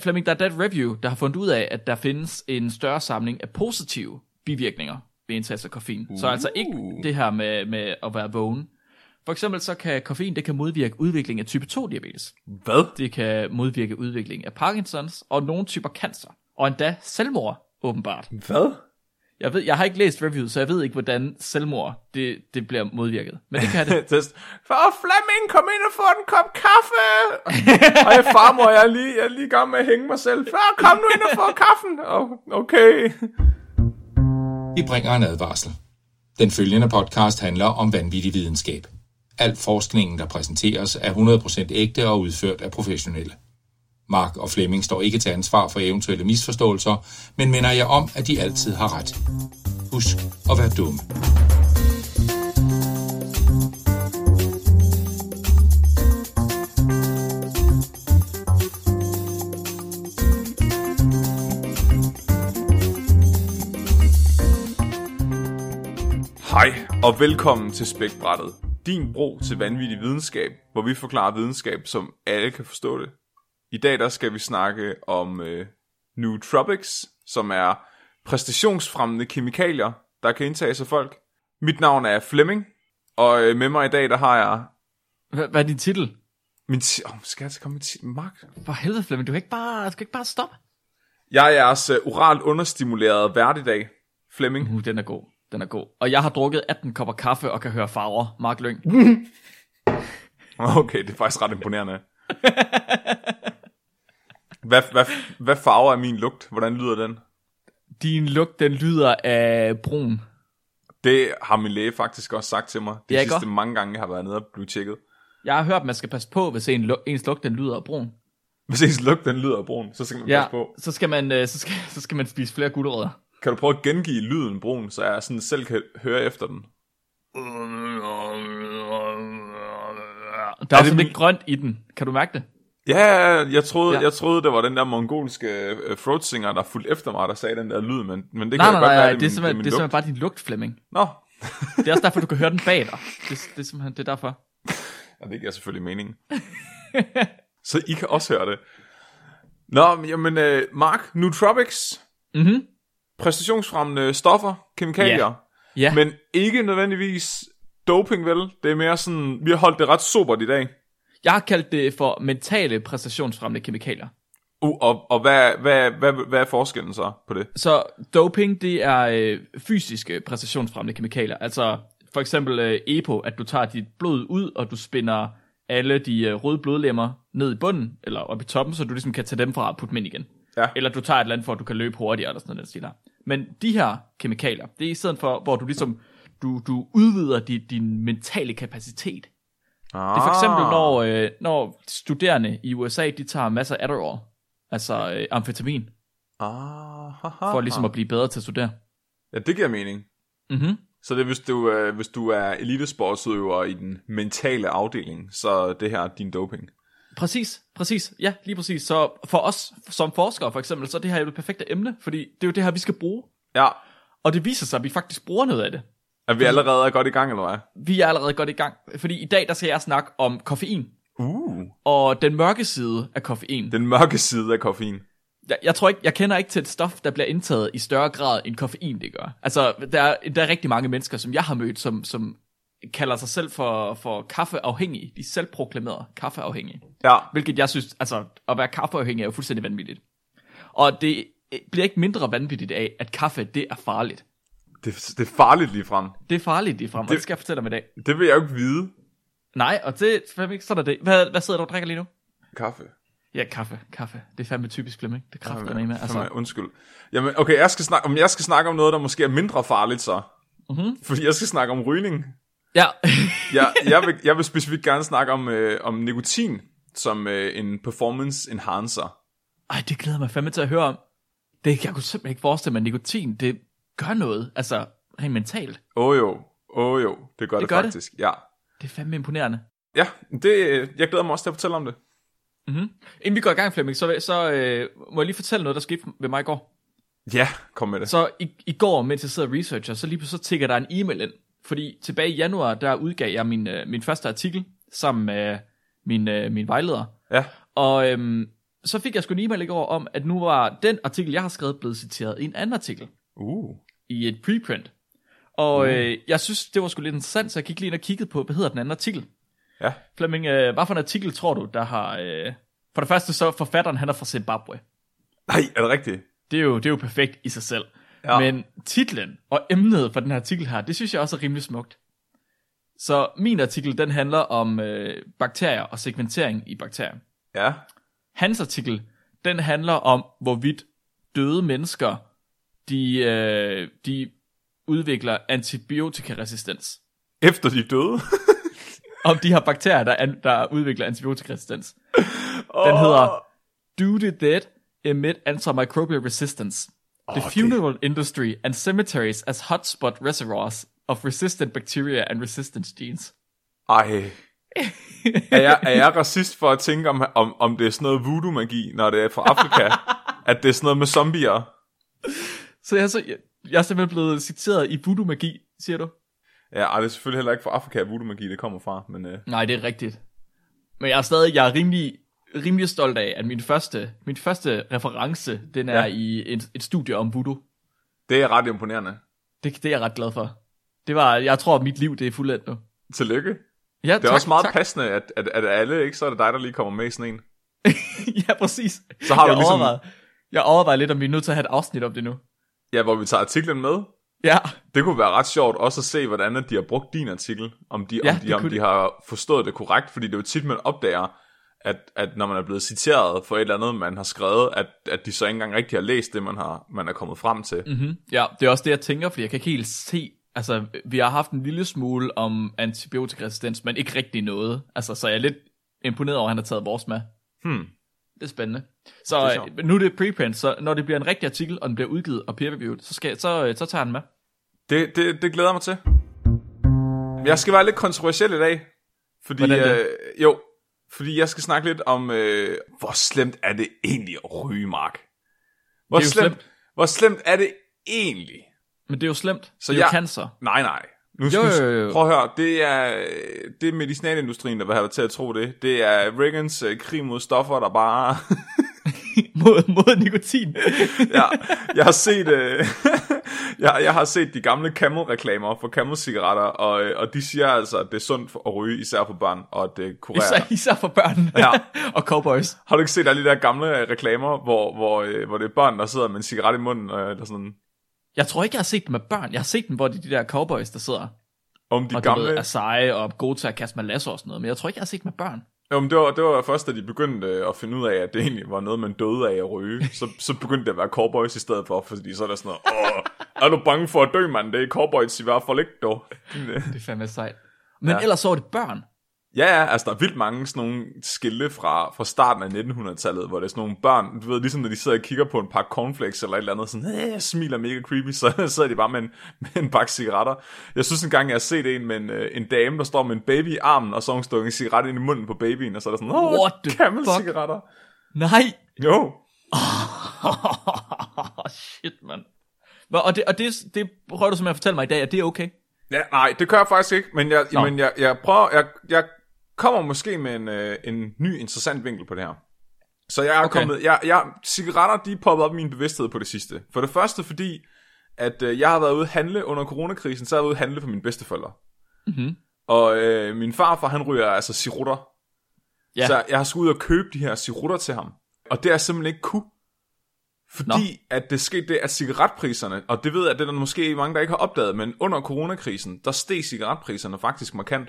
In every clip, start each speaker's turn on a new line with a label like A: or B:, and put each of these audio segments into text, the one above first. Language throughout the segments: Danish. A: Flemming, der er et review, der har fundet ud af, at der findes en større samling af positive bivirkninger ved indtagelse af koffein. Uh. Så altså ikke det her med, med at være vågen. For eksempel så kan koffein det kan modvirke udvikling af type 2 diabetes.
B: Hvad?
A: Det kan modvirke udvikling af Parkinsons og nogle typer cancer. Og endda selvmord, åbenbart.
B: Hvad?
A: Jeg, ved, jeg har ikke læst review, så jeg ved ikke, hvordan selvmord det, det bliver modvirket. Men det kan det.
B: Test. Far Flemming, kom ind og få en kop kaffe! Hej farmor, jeg er lige, jeg er lige i gang med at hænge mig selv. Far, kom nu ind og få kaffen! Oh, okay.
C: Vi bringer en advarsel. Den følgende podcast handler om vanvittig videnskab. Al forskningen, der præsenteres, er 100% ægte og udført af professionelle. Mark og Flemming står ikke til ansvar for eventuelle misforståelser, men minder jeg om, at de altid har ret. Husk at være dumme.
B: Hej, og velkommen til Spækbrættet. Din bro til vanvittig videnskab, hvor vi forklarer videnskab, som alle kan forstå det. I dag der skal vi snakke om øh, nootropics, som er præstationsfremmende kemikalier, der kan indtages af folk. Mit navn er Flemming, og øh, med mig i dag der har jeg
A: Hva- Hvad er din titel?
B: min ti- oh, skal jeg til at komme med ti- Mark?
A: For helvede, Flemming, du kan ikke bare, du kan ikke bare stoppe.
B: Jeg er jeres øh, oralt understimulerede vært i dag, Flemming.
A: Uh, den er god. Den er god. Og jeg har drukket 18 kopper kaffe og kan høre farver. Mark Lyng.
B: Okay, det er faktisk ret imponerende. Hvad, hvad, hvad farve er min lugt? Hvordan lyder den?
A: Din lugt, den lyder af brun.
B: Det har min læge faktisk også sagt til mig. Det
A: Ja,
B: ja,
A: ikke
B: sidste mange gange, jeg har været nede og blive tjekket.
A: Jeg har hørt, at man skal passe på, hvis en, lu- ens lugt, den lyder af brun.
B: Hvis ens lugt den lyder brun, så skal man ja.
A: Ja,
B: passe på.
A: så skal, man, øh, så, skal, så skal man spise flere gulerødder.
B: Kan du prøve at gengive lyden brun, så jeg sådan selv kan høre efter den?
A: Der er,
B: Er
A: er
B: det
A: sådan
B: min-
A: lidt grønt i den. Kan du mærke det?
B: Ja, jeg troede, ja.
A: Ja.
B: jeg troede det var den der mongolske øh, throatsinger, der fulgte efter mig, der sagde den der lyd, men, men
A: Nej,
B: det kan
A: nej,
B: jo godt
A: nej,
B: være,
A: nej,
B: det,
A: det er
B: min, det er
A: simpelthen,
B: min
A: det er simpelthen
B: lugt.
A: bare din lugt, Flemming.
B: Nå,
A: Det er også derfor, du kan høre den bag dig. Det, det er simpelthen, det er derfor.
B: Ja, det giver selvfølgelig mening. så I kan også høre det. Nå, men jamen, øh, Mark, nootropics,
A: Mhm.
B: præstationsfremmende stoffer, kemikalier,
A: Ja, Men...
B: men ikke nødvendigvis doping, vel? Det er mere sådan, vi har holdt det ret sobert i dag.
A: jeg har kaldt det for mentale præstationsfremmende kemikalier.
B: Uh, og og hvad, hvad, hvad, hvad er forskellen så på det?
A: Så doping, det er øh, fysiske præstationsfremmende kemikalier. Altså for eksempel øh, EPO, at du tager dit blod ud, og du spinder alle de øh, røde blodlemmer ned i bunden, eller op i toppen, så du ligesom kan tage dem fra og putte dem ind igen.
B: Ja.
A: Eller du tager et eller andet, for at du kan løbe hurtigere, eller sådan noget, den stil her. Men de her kemikalier, det er i stedet for, hvor du ligesom, du, du udvider din, din mentale kapacitet.
B: Ah,
A: Det er for eksempel, når, øh, når studerende i USA, de tager masser af Adderall, altså øh, amfetamin,
B: Ah, ha, ha,
A: for ligesom at blive bedre til at studere.
B: Ja, det giver mening.
A: Mhm.
B: Så det er, hvis du, øh, hvis du er elitesportsudøver i den mentale afdeling, så er det her din doping.
A: Præcis, præcis. Ja, lige præcis. Så for os som forskere for eksempel, så er det her jo det perfekte emne, fordi det er jo det her, vi skal bruge.
B: Ja,
A: Og det viser sig, at vi faktisk bruger noget af det.
B: Er vi allerede godt i gang, eller hvad?
A: Vi er allerede godt i gang, fordi i dag der skal jeg snakke om koffein
B: Uh.
A: og den mørke side af koffein.
B: Den mørke side af koffein.
A: Jeg, jeg tror ikke, jeg kender ikke til et stof, der bliver indtaget i større grad end koffein, det gør. Altså, der er, der er rigtig mange mennesker, som jeg har mødt, som, som kalder sig selv for, for kaffeafhængige. De er selv proklamerede kaffeafhængige.
B: Ja.
A: Hvilket jeg synes, altså at være kaffeafhængig er jo fuldstændig vanvittigt. Og det øh, bliver ikke mindre vanvittigt af, at kaffe, det er farligt.
B: Det, det er farligt lige frem.
A: Det er farligt lige frem, og
B: Det-
A: det skal jeg fortælle om i dag.
B: Det vil jeg jo ikke vide.
A: Nej, og det, Flemming, så er der det. Hvad, hvad sidder du og drikker lige nu?
B: Kaffe.
A: Ja, kaffe, kaffe. Det er fandme typisk Flemming. Det kræfter
B: Jamen,
A: ja, med.
B: fandme,
A: Altså,
B: Undskyld. Jamen, okay, jeg skal, snakke, om, jeg skal snakke om noget, der måske er mindre farligt så. Mm-hmm. Fordi jeg skal snakke om rygning.
A: ja.
B: Jeg, jeg, vil, jeg vil specifikt gerne snakke om, øh, om nikotin som øh, en performance enhancer.
A: Ej, det glæder jeg mig fandme til at høre om. Det, jeg kunne simpelthen ikke forestille mig, at nikotin, det gør noget. Altså, rent mentalt.
B: Åh oh, jo, åh oh, jo, det gør det, det
A: gør det.
B: faktisk. Det. Ja,
A: Det er fandme imponerende.
B: ja det, øh, jeg glæder mig også til at fortælle om det.
A: Inden vi går i gang, Flemming, så, så øh, må jeg lige fortælle noget, der skete ved mig i går.
B: Ja, kom med det.
A: Så i, i går, mens jeg sidder og researcher, så lige pludselig så tigger der en e-mail ind. Fordi tilbage i januar, der udgav jeg min, øh, min første artikel sammen med min, øh, min øh, vejleder.
B: Ja.
A: Og øhm, så fik jeg sgu en e-mail i går om, at nu var den artikel, jeg har skrevet, blevet citeret i en anden artikel
B: Uh.
A: i et preprint. Og øh, jeg synes, det var sgu lidt interessant, så jeg gik lige ind og kiggede på, hvad hedder den anden artikel?
B: Ja.
A: Flemming, øh, hvad for en artikel tror du, der har... Øh, for det første så, forfatteren han er fra Zimbabwe.
B: Nej, er det rigtigt?
A: Det er jo, det er jo perfekt i sig selv.
B: Ja.
A: Ja. Men titlen og emnet for den her artikel her, det synes jeg også er rimelig smukt. Så min artikel, den handler om øh, bakterier og segmentering i bakterier.
B: Ja.
A: Hans artikel, den handler om, hvorvidt døde mennesker, de, øh, de udvikler antibiotikaresistens.
B: Efter de er døde.
A: Om de her bakterier, der, an, der udvikler antibiotikaresistens. Den hedder Do the Dead Emit Antimicrobial Resistance. The funeral industry and cemeteries as hotspot reservoirs of resistant bacteria and resistance genes.
B: Ej. Er jeg, er jeg racist for at tænke, om, om, om det er sådan noget voodoo-magi, når det er fra Afrika? at det er sådan noget med zombier?
A: Så jeg, er så, jeg, jeg er simpelthen blevet citeret i voodoo-magi, siger du?
B: Ja, ej, det er selvfølgelig heller ikke fra Afrika, at voodoo-magi det kommer fra, men... Øh,
A: Nej, det er rigtigt. Men jeg er stadig jeg er rimelig, rimelig stolt af, at min første, min første reference, den er
B: Ja.
A: ja. i et, et studie om voodoo.
B: det er ret imponerende.
A: Det, det er jeg ret glad for. Det var, jeg tror, at mit liv det er fuldendt nu.
B: Tillykke. Det
A: Ja,
B: er
A: tak,
B: også meget
A: tak.
B: passende, at, at, at alle, ikke? Så er det dig, der lige kommer med i sådan en.
A: ja, præcis.
B: Så har
A: jeg
B: du ligesom-
A: Overvejer, jeg overvejer lidt, om vi er nødt til at have et afsnit om det nu.
B: Ja, hvor vi tager artiklen med.
A: Ja,
B: Det kunne være ret sjovt også at se, hvordan at de har brugt din artikel, om de,
A: Ja,
B: om de,
A: det
B: om
A: kunne
B: de
A: det.
B: har forstået det korrekt, fordi det er jo tit, man opdager, at, at når man er blevet citeret for et eller andet, man har skrevet, at, at de så ikke engang rigtig har læst det, man, har, man er kommet frem til. Mm.
A: mm-hmm. ja, det er også det, jeg tænker, fordi jeg kan ikke helt se... Altså, vi har haft en lille smule om antibiotikaresistens, men ikke rigtig noget. Altså, så jeg er lidt imponeret over, at han har taget vores med.
B: Hmm.
A: Det er spændende.
B: Det
A: Så
B: er
A: det
B: sjovt.
A: er nu er det preprint, så når det bliver en rigtig artikel, og den bliver udgivet og peer-reviewed, så, skal, så, øh, så tager jeg den med.
B: Det, det, det glæder jeg mig til. Jeg skal være lidt kontroversiel i dag. Fordi,
A: Hvordan det?
B: Øh, jo, fordi jeg skal snakke lidt om, øh, hvor slemt er det egentlig at ryge, Mark? Hvor,
A: Det er jo
B: slemt,
A: slemt.
B: hvor slemt er det egentlig?
A: Men det er jo slemt.
B: Så
A: Så det er
B: jeg-
A: jo cancer.
B: Nej, nej. Nu,
A: Jo,
B: nu-
A: jo, jo, jo.
B: Prøv at høre, det er, det er medicinalindustrien, der vil have dig til at tro det. Det er Reagans øh, krig mod stoffer, der bare...
A: mod, mod nikotin.
B: ja, jeg har set... Øh, jeg, jeg har set de gamle Camel-reklamer for Camel-cigaretter, og, øh, og de siger altså, at det er sundt for at ryge, især for børn, og at det kurerer.
A: især, især for børn
B: Ja.
A: og cowboys.
B: Har du ikke set alle de der gamle øh, reklamer, hvor, hvor, øh, hvor det er børn, der sidder med en cigaret i munden, øh, eller sådan...
A: Jeg tror ikke, jeg har set dem med børn. Jeg har set dem, hvor det er de der cowboys, der sidder
B: Om de
A: og gamle...
B: gamle...
A: du ved, er seje og gode til at kaste med lasso og sådan noget. Men jeg tror ikke, jeg har set dem med børn.
B: Jo, men det var, det var først, da de begyndte øh, at finde ud af, at det egentlig var noget, man døde af at ryge. Så, så begyndte det at være cowboys i stedet for, fordi så er der sådan noget, Åh, er du bange for at dø, mand? Det er cowboys i hvert fald ikke, dog.
A: Det er fandme sejt. Men
B: Ja.
A: ja. ellers så var det børn.
B: Ja, ja, altså der er vildt mange sådan nogle skilte fra, fra starten af 1900-tallet, hvor det er sådan nogle børn, du ved, ligesom når de sidder og kigger på en pakke cornflakes eller et eller andet, sådan, øh, smiler mega creepy, så sidder de bare med en, med en pakke cigaretter. Jeg synes engang, jeg har set en med en, øh, en dame, der står med en baby i armen, og så har hun stukket en cigaret ind i munden på babyen, og så er der sådan, åh,
A: What the
B: camel-cigaretter.
A: Nej!
B: Jo,
A: Shit, mand. Nå, og det, og det, det prøver du simpelthen at fortælle mig i dag, at det er okay.
B: Ja, nej, det kører jeg faktisk ikke, men jeg,
A: Nå.
B: men jeg, jeg prøver, jeg, jeg kommer måske med en, øh, en ny interessant vinkel på det her. Så jeg er okay.
A: Okay.
B: kommet, jeg, jeg, cigaretter, de er poppet op i min bevidsthed på det sidste. For det første, fordi at øh, jeg har været ude at handle under coronakrisen, så har jeg været ude at handle for mine bedsteforældre.
A: Mhm.
B: Og øh, min farfar, han ryger altså sirutter. Ja.
A: Ja.
B: Så jeg har skulle ud og købe de her sirutter til ham. Og det er jeg simpelthen ikke kunne. Fordi Nå. at det skete det, at cigaretpriserne, og det ved jeg, det er der måske mange, der ikke har opdaget, men under coronakrisen, der steg cigaretpriserne faktisk markant.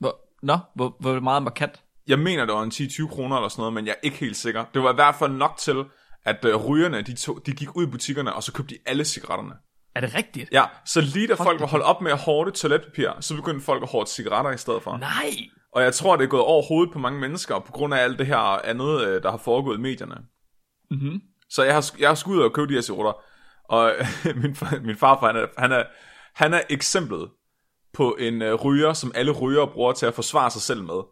A: Hvor, nå, hvor, hvor meget markant.
B: Jeg mener, det var en 10-20 kroner eller sådan noget, men jeg er ikke helt sikker. Det var i hvert fald nok til, at øh, rygerne, de, tog, de gik ud i butikkerne, og så købte de alle cigaretterne.
A: Er det rigtigt?
B: Ja, så lige da folk var holdt op med at hårde toiletpapir, så begyndte folk at hårde cigaretter i stedet for.
A: Nej!
B: Og jeg tror, det er gået over hovedet på mange mennesker, på grund af alt det her andet, øh, der har foregået i medierne.
A: Mhm.
B: Så jeg har, sk- jeg har skudt ud og købt de her cigaretter. Og min, far- min farfar, han er, han, er, han er eksemplet på en øh, ryger, som alle ryger bruger til at forsvare sig selv med.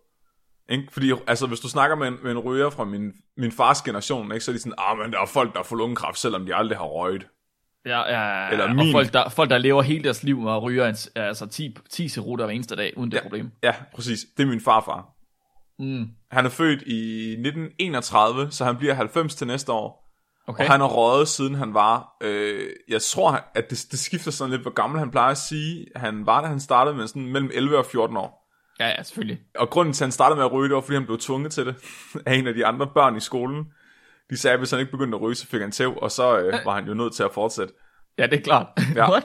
B: Ikke? Fordi altså, hvis du snakker med en, med en ryger fra min, min fars generation, ikke, så er de sådan, ah, men der er folk, der får lungekræft, selvom de aldrig har røget.
A: Ja, ja, ja.
B: Eller
A: og
B: min.
A: folk der, folk, der lever hele deres liv og ryger en, altså 10, 10 cerutter hver eneste dag, uden det ja. problem.
B: Ja, præcis. Det er min farfar.
A: Mm.
B: Han er født i 1931, så han bliver 90 til næste år.
A: Okay.
B: Okay. Og han har røget, siden han var... Øh, jeg tror, at det, det skifter sådan lidt, hvor gammel han plejer at sige. Han var, da han startede med sådan mellem 11 og 14 år.
A: Ja, ja, selvfølgelig.
B: Og grunden til, at han startede med at ryge, det var, fordi han blev tvunget til det af en af de andre børn i skolen. De sagde, at hvis han ikke begyndte at ryge, så fik han tæv, og så øh, var han jo nødt til at fortsætte.
A: Ja, det er klart.
B: Ja.
A: What?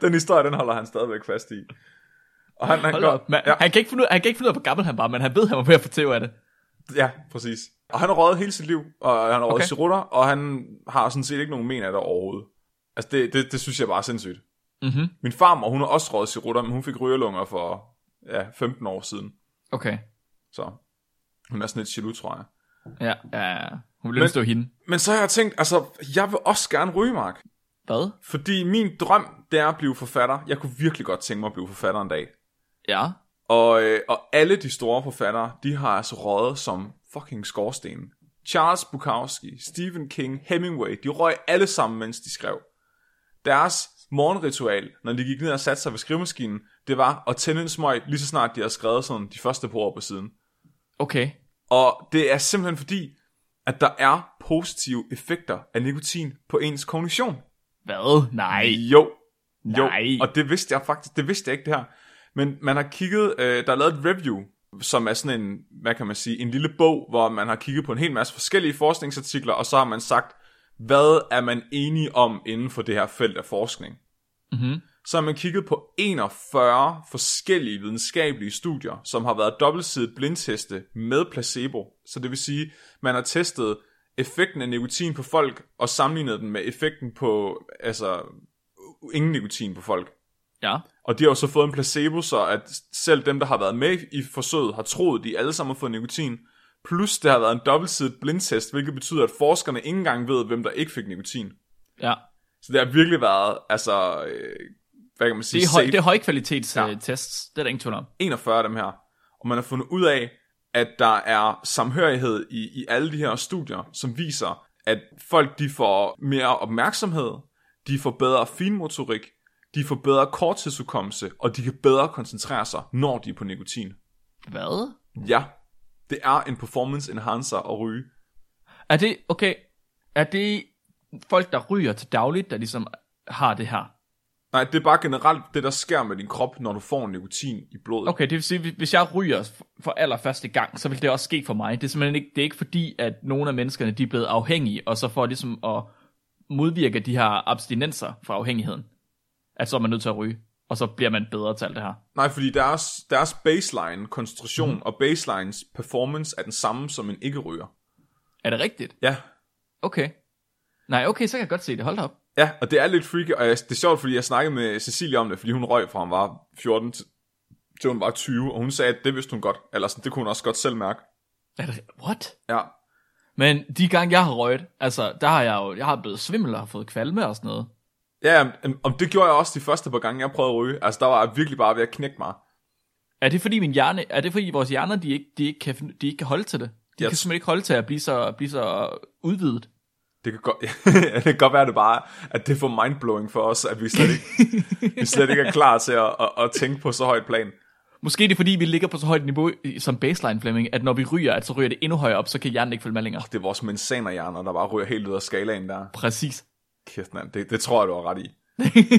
B: Den historie, den holder han stadigvæk fast i. Og han, han,
A: Hold
B: gør,
A: op, man. Ja. Han, kan ikke finde ud, han kan ikke finde ud af, hvor gammel han var, men han ved, han var ved at få tæv af det.
B: ja, præcis. Og han har røget hele sit liv, og han har røget
A: Okay.
B: okay. cirutter, og han har sådan set ikke nogen men af det overhovedet. Altså, det, det, det synes jeg bare er sindssygt.
A: Mhm.
B: Min farmor, hun har også røget cirutter, men hun fik rygerlunger for ja, 15 år siden.
A: Okay.
B: Så hun er sådan lidt jaloux, tror jeg.
A: Ja, ja, ja. Hun ville stå hende.
B: Men så har jeg tænkt, altså, jeg vil også gerne ryge, Mark.
A: Hvad?
B: Fordi min drøm, det er at blive forfatter. Jeg kunne virkelig godt tænke mig at blive forfatter en dag.
A: Ja.
B: Og, øh, og alle de store forfattere, de har altså røget som fucking skorsten. Charles Bukowski, Stephen King, Hemingway, de røg alle sammen, mens de skrev. Deres morgenritual, når de gik ned og satte sig ved skrivemaskinen, det var at tænde en smøg, lige så snart de havde skrevet sådan de første par ord på siden.
A: Okay.
B: Og det er simpelthen fordi, at der er positive effekter af nikotin på ens kognition.
A: Hvad? Nej.
B: Jo. Jo,
A: Nej.
B: og det vidste jeg faktisk, det vidste jeg ikke det her. Men man har kigget, øh, der er lavet et review, som er sådan en, hvad kan man sige, en lille bog, hvor man har kigget på en hel masse forskellige forskningsartikler, og så har man sagt, hvad er man enige om inden for det her felt af forskning?
A: Mhm.
B: Så har man kigget på 41 forskellige videnskabelige studier, som har været dobbeltsidet blindteste med placebo. Så det vil sige, man har testet effekten af nikotin på folk, og sammenlignet den med effekten på, altså, ingen nikotin på folk.
A: Ja.
B: Og de har jo så fået en placebo, så at selv dem, der har været med i forsøget, har troet, de alle sammen har fået nikotin. Plus det har været en dobbeltsidet blindtest, hvilket betyder, at forskerne ikke engang ved, hvem der ikke fik nikotin.
A: Ja.
B: Så det har virkelig været, altså, øh, hvad kan man
A: Det
B: sige,
A: er, høj,
B: safe.
A: det er højkvalitets
B: Ja.
A: ja. tests. Det er der ingen tvivl om.
B: 41 af dem her. Og man har fundet ud af, at der er samhørighed i, i alle de her studier, som viser, at folk de får mere opmærksomhed, de får bedre finmotorik, de får bedre korttidsudkommelse, og de kan bedre koncentrere sig, når de er på nikotin.
A: Hvad?
B: Ja, det er en performance enhancer at ryge.
A: Er det, okay, er det folk, der ryger til dagligt, der ligesom har det her?
B: Nej, det er bare generelt det, der sker med din krop, når du får nikotin i blodet.
A: Okay, det vil sige, hvis- hvis jeg ryger for allerførste gang, så vil det også ske for mig. Det er simpelthen ikke, det er ikke fordi, at nogle af menneskerne de er blevet afhængige, og så for ligesom at modvirke de her abstinenser fra afhængigheden, at så er man nødt til at ryge, og så bliver man bedre til alt det her.
B: Nej, fordi deres, deres baseline, koncentration mm. og baselines performance er den samme som en ikke-ryger.
A: Er det rigtigt?
B: Ja,
A: Okay. Nej, okay, så kan jeg godt se det. Hold da op.
B: Ja, og det er lidt freaky, og jeg, det er sjovt, fordi jeg snakkede med Cecilie om det, fordi hun røg fra hun var 14 til, til hun var 20, og hun sagde, at det vidste hun godt, eller sådan, det kunne hun også godt selv mærke.
A: Er det, what?
B: Ja,
A: Men de gange, jeg har røget, altså, der har jeg jo, jeg har blevet svimmel og har fået kvalme og sådan noget.
B: ja om- om det gjorde jeg også de første par gange, jeg prøvede at ryge. Altså, der var jeg virkelig bare ved at knække mig.
A: Er det fordi min hjerne, er det fordi vores hjerner, de ikke, de ikke, kan, finde- de ikke kan holde til det? De
B: Jeg
A: kan
B: tr-
A: simpelthen ikke holde til at blive så, blive så udvidet.
B: Det kan, godt, det kan godt være, det bare at det er for mindblowing for os, at vi slet ikke, vi slet ikke er klar til at, at, at, tænke på så højt plan.
A: Måske det er fordi, vi ligger på så højt niveau i- som baseline Flemming, at når vi ryger, at så ryger det endnu højere op, så kan hjernen ikke følge med længere.
B: Det er vores mensanerhjerner, der bare ryger helt ud af skalaen der.
A: Præcis.
B: Kæft, mand, det, det tror jeg, du har ret i.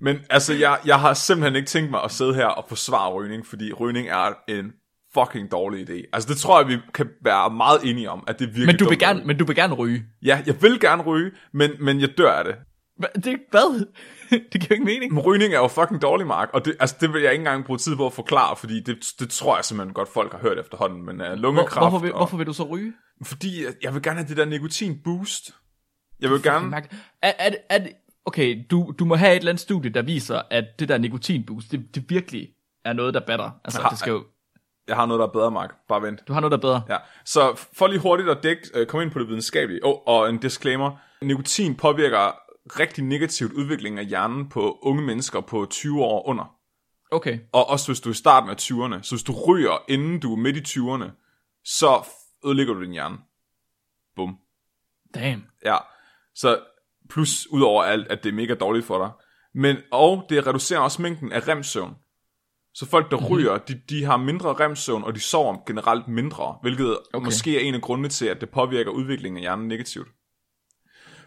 B: Men altså, jeg, jeg har simpelthen ikke tænkt mig at sidde her og forsvare rygning, fordi rygning er en fucking dårlig idé. Altså, det tror jeg, vi kan være meget enige om, at det er virkelig
A: men, du vil
B: dumt at
A: gerne,
B: ryge.
A: men du vil gerne ryge.
B: Ja, jeg vil gerne ryge, men, men jeg dør af det.
A: Hva, det, hvad? det giver jo ikke mening.
B: Men rygning er jo fucking dårlig, Mark, og det, altså, det vil jeg ikke engang bruge tid på at forklare, fordi det, det tror jeg simpelthen godt, folk har hørt efterhånden, men uh, lungekræft...
A: Hvor, hvorfor, vil,
B: og,
A: hvorfor vil du så ryge?
B: Fordi jeg, jeg vil gerne have det der nikotin-boost. Jeg vil
A: Det er
B: gerne...
A: mærkeligt. Er, er, det- er, det- okay, du, du må have et eller andet studie, der viser, at det der nikotinboost, det, det virkelig er noget, der batter. Altså,
B: Har-
A: det skal jo,
B: Jeg har noget, der er bedre, Mark. Bare vent.
A: du har noget, der er bedre.
B: Ja, så for lige hurtigt at dække, øh, komme ind på det videnskabelige, oh, og en disclaimer, nikotin påvirker rigtig negativt udviklingen af hjernen på unge mennesker på 20 år og under.
A: Okay,
B: Og også hvis du er i starten af 20'erne, så hvis du ryger, inden du er midt i 20'erne, så ødelægger du din hjerne. Bum.
A: damn.
B: Ja, så plus udover alt, at det er mega dårligt for dig. Men, og det reducerer også mængden af remsøvn. Så folk, der ryger, de, de har mindre remsøvn, og de sover generelt mindre, hvilket okay. måske er en af grundene til, at det påvirker udviklingen af hjernen negativt.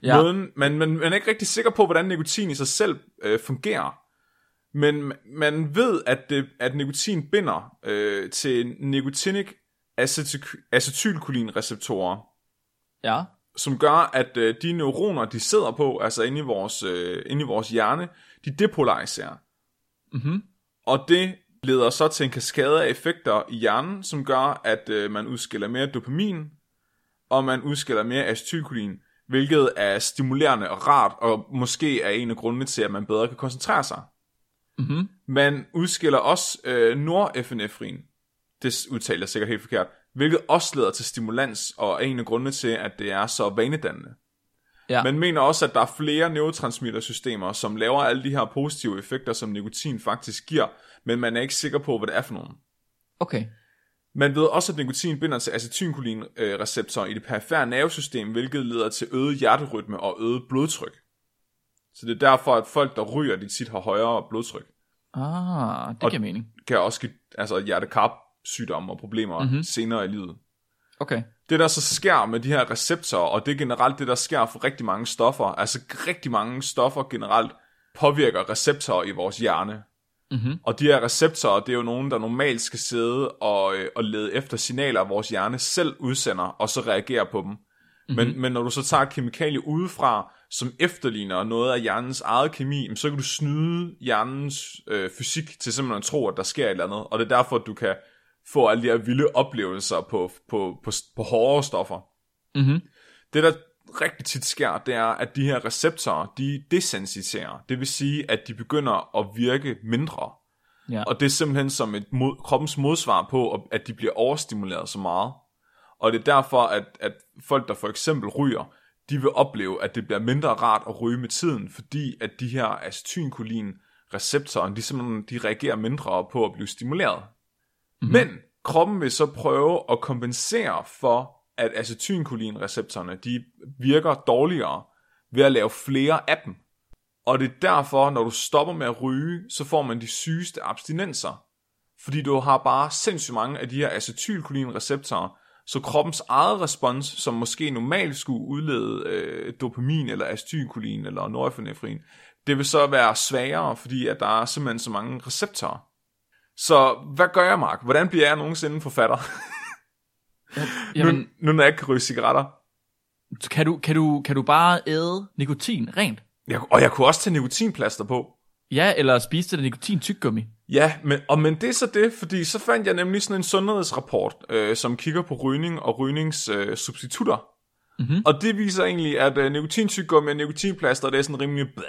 B: Ja.
A: Ja.
B: Måden, man, man, man er ikke rigtig sikker på, hvordan nikotin i sig selv øh, fungerer, men ma- man ved, at, det, at nikotin binder øh, til nicotinic acetyl- acetylcholinreceptorer,
A: Ja.
B: som gør, at øh, de neuroner, de sidder på, altså inde i vores, øh, inde i vores hjerne, de depolariserer.
A: Mhm.
B: Og det leder så til en kaskade af effekter i hjernen, som gør, at øh, man udskiller mere dopamin, og man udskiller mere acetylkolin, hvilket er stimulerende og rart, og måske er en af grundene til, at man bedre kan koncentrere sig.
A: Mhm.
B: Man udskiller også øh, norepinefrin, det udtaler jeg sikkert helt forkert, hvilket også leder til stimulans, og er en af grundene til, at det er så vanedannende.
A: Ja.
B: Man mener også, at der er flere neurotransmittersystemer, som laver alle de her positive effekter, som nikotin faktisk giver, men man er ikke sikker på, hvad det er for nogen.
A: Okay.
B: Man ved også, at nikotin binder til acetylcholinreceptorer i det perifære nervesystem, hvilket leder til øget hjerterytme og øget blodtryk. Så det er derfor, at folk, der ryger, de tit har højere blodtryk.
A: Ah, det
B: Og-
A: giver mening.
B: Kan også give altså, hjertekar sygdomme og problemer mm-hmm. senere i livet.
A: Okay.
B: det der så sker med de her receptorer, og det er generelt det, der sker for rigtig mange stoffer, altså rigtig mange stoffer generelt påvirker receptorer i vores hjerne.
A: Mhm.
B: Og de her receptorer, det er jo nogen, der normalt skal sidde og, øh, og lede efter signaler, vores hjerne selv udsender, og så reagerer på dem. Mm-hmm.
A: Mhm.
B: Men, men når du så tager et kemikalie udefra, som efterligner noget af hjernens eget kemi, jamen, så kan du snyde hjernens øh, fysik til simpelthen at tro, at der sker et eller andet. Og det er derfor, at du kan få alle de her vilde oplevelser på, på, på, på hårde stoffer.
A: Mhm.
B: Det, der rigtig tit sker, det er, at de her receptorer, de desensitiserer. Det vil sige, at de begynder at virke mindre.
A: Ja.
B: Og det er simpelthen som et mod, kroppens modsvar på, at de bliver overstimuleret så meget. Og det er derfor, at, at folk, der for eksempel ryger, de vil opleve, at det bliver mindre rart at ryge med tiden, fordi at de her acetylkolin receptorer, de, simpelthen, de reagerer mindre på at blive stimuleret. Mm-hmm. Men kroppen vil så prøve at kompensere for, at acetylcholinreceptorerne, de virker dårligere ved at lave flere af dem. Og det er derfor, når du stopper med at ryge, så får man de sygeste abstinenser. Fordi du har bare sindssygt mange af de her acetylcholinreceptorer, så kroppens eget respons, som måske normalt skulle udlede øh, dopamin eller acetylcholin eller norepinefrin, det vil så være svagere, fordi at der er simpelthen så mange receptorer. Så hvad gør jeg, Mark? Hvordan bliver jeg nogensinde forfatter, nu,
A: Jamen,
B: nu når jeg ikke kan ryge cigaretter?
A: kan du, kan, du, kan du bare æde nikotin rent?
B: Jeg, og jeg kunne også tage nikotinplaster på.
A: Ja, eller spise det der nikotin tyggegummi?
B: Ja, men, og, men det er så det, fordi så fandt jeg nemlig sådan en sundhedsrapport, øh, som kigger på rygning og rygningssubstitutter. Øh, substitutter.
A: Mhm.
B: Og det viser egentlig, at øh, nikotintyggegummi og nikotinplaster, det er sådan rimelig blæh.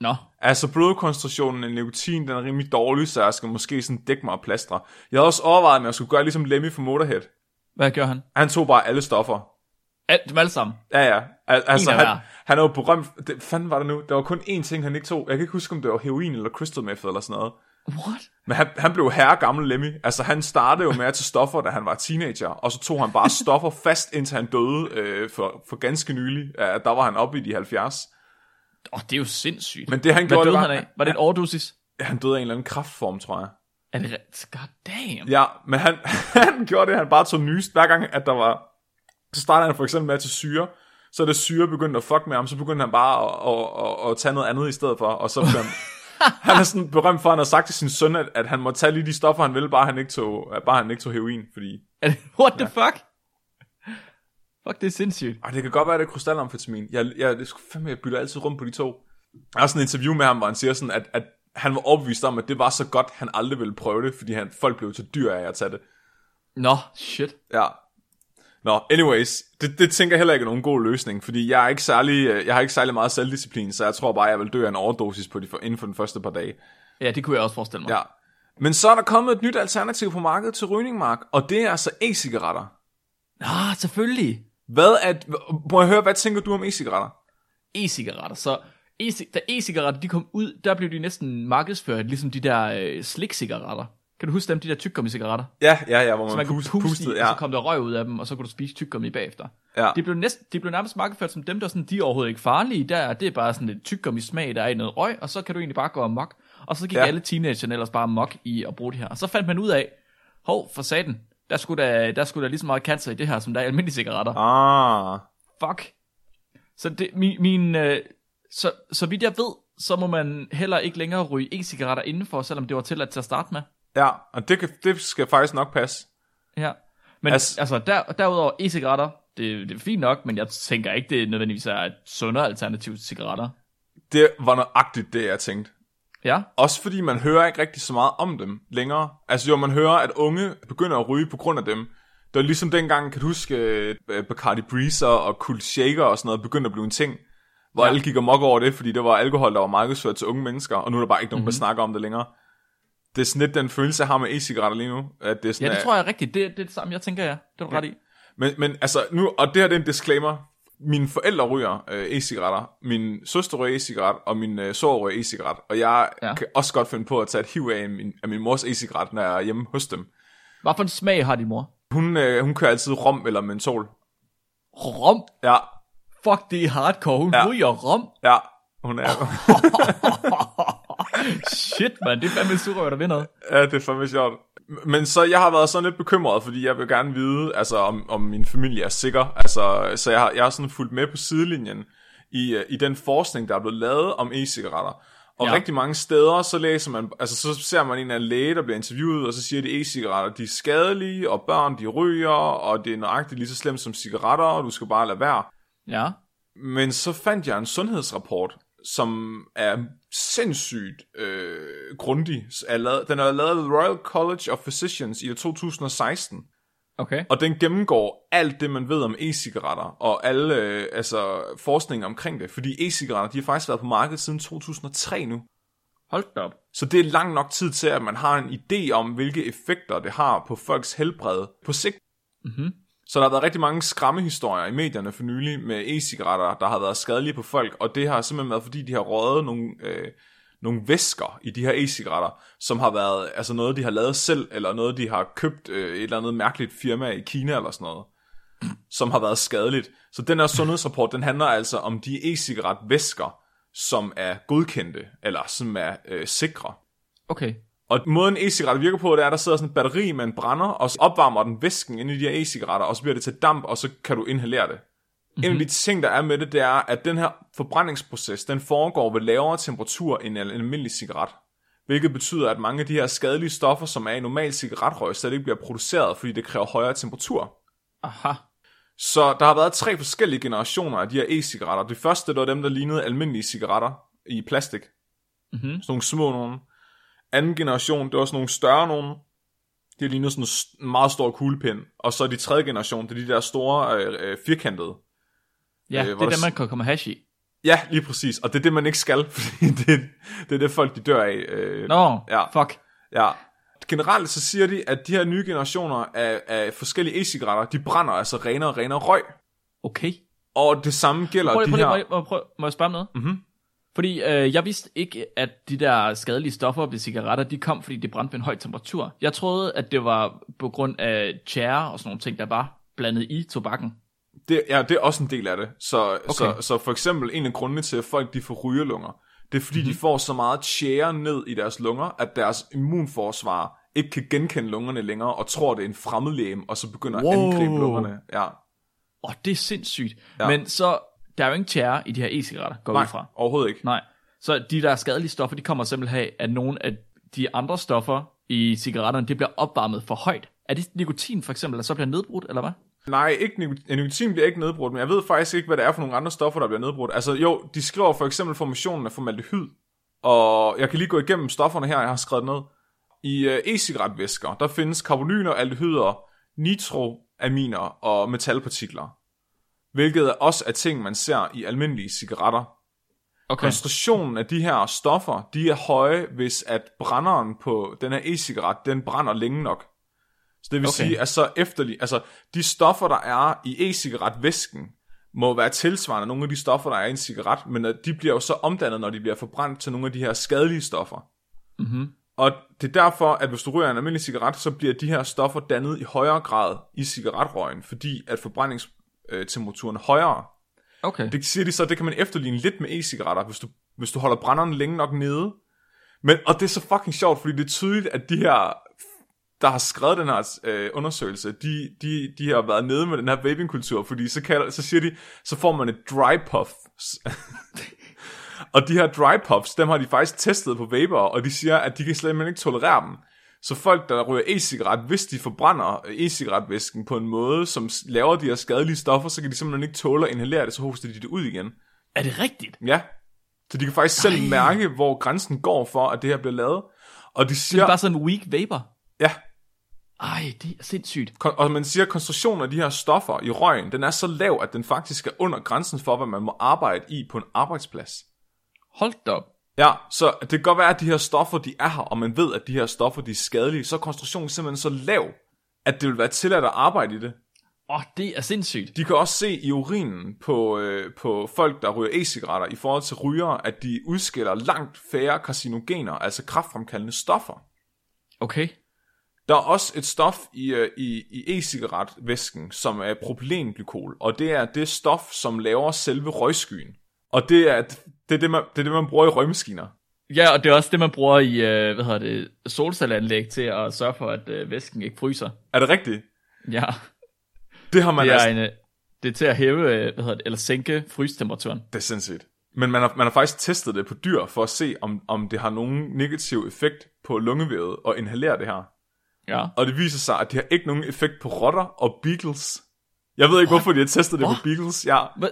A: Nå,
B: Altså blodkoncentrationen af nikotin, den er rimelig dårlig, så jeg skal måske sådan dække mig og plastre. Jeg havde også overvejet, om jeg skulle gøre ligesom Lemmy fra Motorhead.
A: hvad gjorde han?
B: Han tog bare alle stoffer.
A: Alt, dem alle sammen.
B: Ja, ja. Al- altså,
A: af
B: han,
A: hver.
B: han er jo berømt. Det, fanden var det nu? Der var kun én ting, han ikke tog. Jeg kan ikke huske, om det var heroin eller crystal meth eller sådan noget.
A: What?
B: Men han, han blev herre gammel Lemmy. Altså, han startede jo med at tage stoffer, da han var teenager, og så tog han bare stoffer fast, indtil han døde øh, for, for ganske nylig. Ja, der var han oppe i de 70.
A: Åh, oh, det er jo sindssygt.
B: Men det, han
A: Hvad
B: gjorde,
A: døde
B: det
A: han
B: var,
A: af? Var det en overdosis?
B: han døde af en eller anden kraftform, tror jeg.
A: Er det rigtigt? God damn.
B: Ja, men han, han gjorde det, han bare tog nys. Hver gang, at der var... Så startede han for eksempel med at tage syre, så da syre begyndte at fuck med ham, så begyndte han bare at, at, at, at tage noget andet i stedet for, og så blev han... han er sådan berømt for, at han har sagt til sin søn, at, at han må tage lige de stoffer, han ville, bare han ikke tog, bare han ikke tog heroin, fordi
A: Er det, what the fuck? Fuck, det er sindssygt.
B: Og Ah, det kan godt være, det er krystalamfetamin. Jeg, jeg, det skulle fandme, jeg bytter altid rundt på de to. Jeg har sådan et interview med ham, hvor han siger sådan, at, at han var overbevist om, at det var så godt, han aldrig ville prøve det, fordi han, folk blev så dyr af at tage det.
A: Nå, shit.
B: Ja. Nå, anyways, det, det tænker jeg heller ikke er nogen god løsning, fordi jeg, er ikke særlig, øh, jeg har ikke særlig meget selvdisciplin, så jeg tror bare, jeg vil dø af en overdosis på de, for- inden for den første par dage.
A: Ja, det kunne jeg også forestille mig.
B: Ja. Men så er der kommet et nyt alternativ på markedet til rygning, Mark, og det er altså e-cigaretter.
A: Ah, selvfølgelig.
B: Hvad er, må jeg høre, hvad tænker du om e-cigaretter?
A: E-cigaretter. Så e da e-cigaretter de kom ud, der blev de næsten markedsført, ligesom de der øh, slik-cigaretter. Kan du huske dem, de der tyggegummi-cigaretter?
B: Ja, ja, ja, hvor man,
A: Så man kunne
B: pust-
A: puste, puste i,
B: pustede,
A: ja. og så kom der røg ud af dem, og så kunne du spise tyggegummi bagefter.
B: Ja.
A: Det blev, næsten, det blev nærmest markedsført som dem, der sådan, de er overhovedet ikke farlige. Der, er- det er bare sådan et tyggegummi smag, der er i noget røg, og så kan du egentlig bare gå amok. Og så gik
B: Ja.
A: ja. alle teenagerne ellers bare mok i at bruge det her. Og så fandt man ud af, hov, for satan, der skulle der, der skulle der lige så meget cancer i det her, som der er i almindelige cigaretter.
B: Ah,
A: Fuck. Så det, min, min øh, så, så vidt jeg ved, så må man heller ikke længere ryge e-cigaretter indenfor, selvom det var tilladt til at starte med.
B: ja, og det, kan, det skal faktisk nok passe.
A: Ja. Men
B: Altså-
A: altså, altså der, derudover e-cigaretter, det, det er fint nok, men jeg tænker ikke, det nødvendigvis er et sundere alternativ til cigaretter.
B: Det var nøjagtigt det, jeg tænkte.
A: Ja,
B: Også fordi man hører ikke rigtig så meget om dem længere. Altså jo, man hører, at unge begynder at ryge på grund af dem. Det var ligesom dengang, kan du huske, øh, Bacardi Breezer og Cool Shaker og sådan noget begyndte at blive en ting. Hvor ja.
A: Ja.
B: alle gik amok over det, fordi det var alkohol, der var markedsført til unge mennesker, og nu er der bare ikke nogen,
A: Mhm.
B: mm-hmm. der snakker om det længere. Det er sådan lidt den følelse, jeg har med e-cigaretter lige nu. At det er sådan, øh,
A: ja det
B: at-
A: tror jeg er rigtigt. Det, det er det samme, jeg tænker, ja. Det er du ret i.
B: men, men altså, nu, og det her det er en disclaimer. Mine forældre ryger øh, e-cigaretter, min søster ryger e-cigaret, og min øh, sår ryger e-cigaret. Og jeg ja.
A: Ja.
B: kan også godt finde på at tage et hiv af min, af min mors e-cigaret, når jeg er hjemme hos dem.
A: Hvad for en smag har din mor?
B: Hun, øh, hun kører altid rom eller mentol.
A: Rom.
B: Ja,
A: Fuck, det er hardcore. Hun
B: Ja.
A: ja. ryger rom.
B: ja, hun er...
A: Shit, mand. Det er fandme surrøver, der vinder.
B: ja, det er fandme sjovt. Men så jeg har været sådan lidt bekymret, fordi jeg vil gerne vide, altså, om, om min familie er sikker. Altså, så jeg har, jeg har sådan fulgt med på sidelinjen i, øh, i den forskning, der er blevet lavet om e-cigaretter. Og ja.
A: Ja.
B: rigtig mange steder, så læser man, altså så ser man en af læge, der bliver interviewet, og så siger de, at e-cigaretter, de er skadelige, og børn, de ryger, og det er nøjagtigt lige så slemt som cigaretter, og du skal bare lade være.
A: Ja.
B: Men så fandt jeg en sundhedsrapport, som er sindssygt øh, grundig. Er lavet, den er lavet ved Royal College of Physicians i år 2016,
A: Okay.
B: og den gennemgår alt det, man ved om e-cigaretter, og alle øh, altså, forskning omkring det. Fordi e-cigaretter, de har faktisk været på markedet siden 2003 nu.
A: Hold da op.
B: Så det er lang nok tid til, at man har en idé om, hvilke effekter det har på folks helbred på sigt.
A: Mhm.
B: Så der har været rigtig mange skræmmehistorier i medierne for nylig med e-cigaretter, der har været skadelige på folk, og det har simpelthen været, fordi de har røget nogle, øh, nogle væsker i de her e-cigaretter, som har været altså noget, de har lavet selv, eller noget, de har købt øh, et eller andet mærkeligt firma i Kina eller sådan noget, som har været skadeligt. Så den her sundhedsrapport, den handler altså om de e-cigaretvæsker, som er godkendte, eller som er øh, sikre.
A: Okay.
B: Og måden e-cigaretter virker på, det er, at der sidder sådan et batteri med en brænder, og så opvarmer den væsken inde i de her e-cigaretter, og så bliver det til damp, og så kan du inhalere det. Mm-hmm. En af de ting, der er med det, det er, at den her forbrændingsproces, den foregår ved lavere temperatur end en almindelig cigaret. Hvilket betyder, at mange af de her skadelige stoffer, som er i normal cigaretrøg, slet ikke bliver produceret, fordi det kræver højere temperatur.
A: Aha.
B: Så der har været tre forskellige generationer af de her e-cigaretter. Det første, det var dem, der lignede almindelige cigaretter i plastik.
A: Mhm.
B: Sådan nogle små nogen. Anden generation, det var sådan nogle større nogen. Det lignede sådan en st- en meget stor kuglepind. Og så de tredje generation, det er de der store øh, øh, firkantede.
A: Ja,
B: Øh,
A: øh, det
B: hvor
A: er
B: der
A: det, man kan komme hash i.
B: Ja, lige præcis. Og det er det, man ikke skal, fordi det, det er det, folk de dør af. Øh,
A: Nå,
B: Ja.
A: ja. fuck.
B: Ja. Generelt så siger de, at de her nye generationer af, af forskellige e-cigaretter, de brænder altså renere og renere røg.
A: Okay.
B: Og det samme gælder
A: Prøv lige,
B: de
A: prøv lige,
B: her...
A: prøv lige, prøv, prøv, må jeg spørge om noget?
B: Mhm.
A: Fordi øh, jeg vidste ikke, at de der skadelige stoffer ved cigaretter, de kom, fordi det brændte ved en høj temperatur. Jeg troede, at det var på grund af tjære og sådan nogle ting, der var blandet i tobakken.
B: Det, ja, det er også en del af det. Så, okay. så,
A: Okay.
B: så for eksempel en af grundene til, at folk de får rygelunger, det er fordi,
A: Mhm.
B: mm-hmm. de får så meget tjære ned i deres lunger, at deres immunforsvar ikke kan genkende lungerne længere, og tror, det er en fremmedlæge, og så begynder wow. at
A: Wow.
B: angribe lungerne. Ja.
A: Åh, det er sindssygt.
B: Ja.
A: Ja. Men så, der er jo ingen tjære i de her e-cigaretter, går jeg ud
B: Nej,
A: fra.
B: overhovedet ikke.
A: Nej. Så de der skadelige stoffer, de kommer simpelthen af, at nogle af de andre stoffer i cigaretterne, det bliver opvarmet for højt. Er det nikotin for eksempel, der så bliver nedbrudt, eller hvad?
B: Nej, ikke nikot- nikotin bliver ikke nedbrudt, men jeg ved faktisk ikke, hvad det er for nogle andre stoffer, der bliver nedbrudt. Altså jo, de skriver for eksempel formationen af formaldehyd, og jeg kan lige gå igennem stofferne her, jeg har skrevet ned. I øh, e-cigaretvæsker, der findes karbonyler, aldehyder, nitroaminer og metalpartikler, hvilket også er ting, man ser i almindelige cigaretter.
A: Okay.
B: Koncentrationen af de her stoffer, de er høje, hvis at brænderen på den her e-cigaret, den brænder længe nok. Så det vil okay.
A: Okay.
B: sige, at så efterlig, altså de stoffer, der er i e-cigaretvæsken, må være tilsvarende nogle af de stoffer, der er i en cigaret, men at de bliver jo så omdannet, når de bliver forbrændt til nogle af de her skadelige stoffer.
A: Mm-hmm.
B: Og det er derfor, at hvis du ryger en almindelig cigaret, så bliver de her stoffer dannet i højere grad i cigaretrøgen, fordi at forbrændingstemperaturen er højere.
A: Okay.
B: Det siger de så, at det kan man efterligne lidt med e-cigaretter, hvis du, hvis du holder brænderen længe nok nede. Men, og det er så fucking sjovt, fordi det er tydeligt, at de her, der har skrevet den her øh, undersøgelse, de, de, de har været nede med den her vapingkultur, fordi så, kalder, så siger de, så får man et dry puff. og de her dry puffs, dem har de faktisk testet på vapere, og de siger, at de kan slet ikke tolerere dem. Så folk, der ryger e-cigaret, hvis de forbrænder e-cigaretvæsken på en måde, som s- laver de her skadelige stoffer, så kan de simpelthen ikke tåle at inhalere det, så hoster de det ud igen.
A: Er det rigtigt?
B: Ja. Så de kan faktisk selv mærke, hvor grænsen går for, at det her bliver lavet. Og de
A: Det er
B: siger,
A: ja. bare sådan en weak vapor.
B: ja,
A: Ej, det er sindssygt.
B: kon- og man siger, at koncentrationen af de her stoffer i røgen, den er så lav, at den faktisk er under grænsen for, hvad man må arbejde i på en arbejdsplads.
A: Hold da op.
B: Ja, så det kan godt være, at de her stoffer, de er her, og man ved, at de her stoffer, de er skadelige, så er koncentrationen simpelthen så lav, at det vil være tilladt at arbejde i det.
A: Åh, oh, det er sindssygt.
B: De kan også se i urinen på, øh, på folk, der ryger e-cigaretter i forhold til rygere, at de udskiller langt færre karcinogener, altså kraftfremkaldende stoffer.
A: Okay.
B: Der er også et stof i, øh, i, i e-cigaretvæsken, som er propylenglykol, og det er det stof, som laver selve røgskyen. Og det er det, er det, man, det, er det man bruger i røgmaskiner.
A: Ja, og det er også det, man bruger i, øh, hvad hedder det, solcelleanlæg til at sørge for, at øh, væsken ikke fryser.
B: Er det rigtigt?
A: Ja,
B: Det har man
A: det er,
B: altså...
A: en, øh, det er til at hæve, øh, hvad hedder det, eller sænke frystemperaturen.
B: Det er sindssygt. Men man har, man har faktisk testet det på dyr, for at se, om, om det har nogen negativ effekt på lungevævet og inhalere det her.
A: Ja.
B: Og det viser sig, at det har ikke nogen effekt på rotter og beagles. Jeg ved ikke, hvorfor de har testet det på beagles. Ja,
A: Hvad?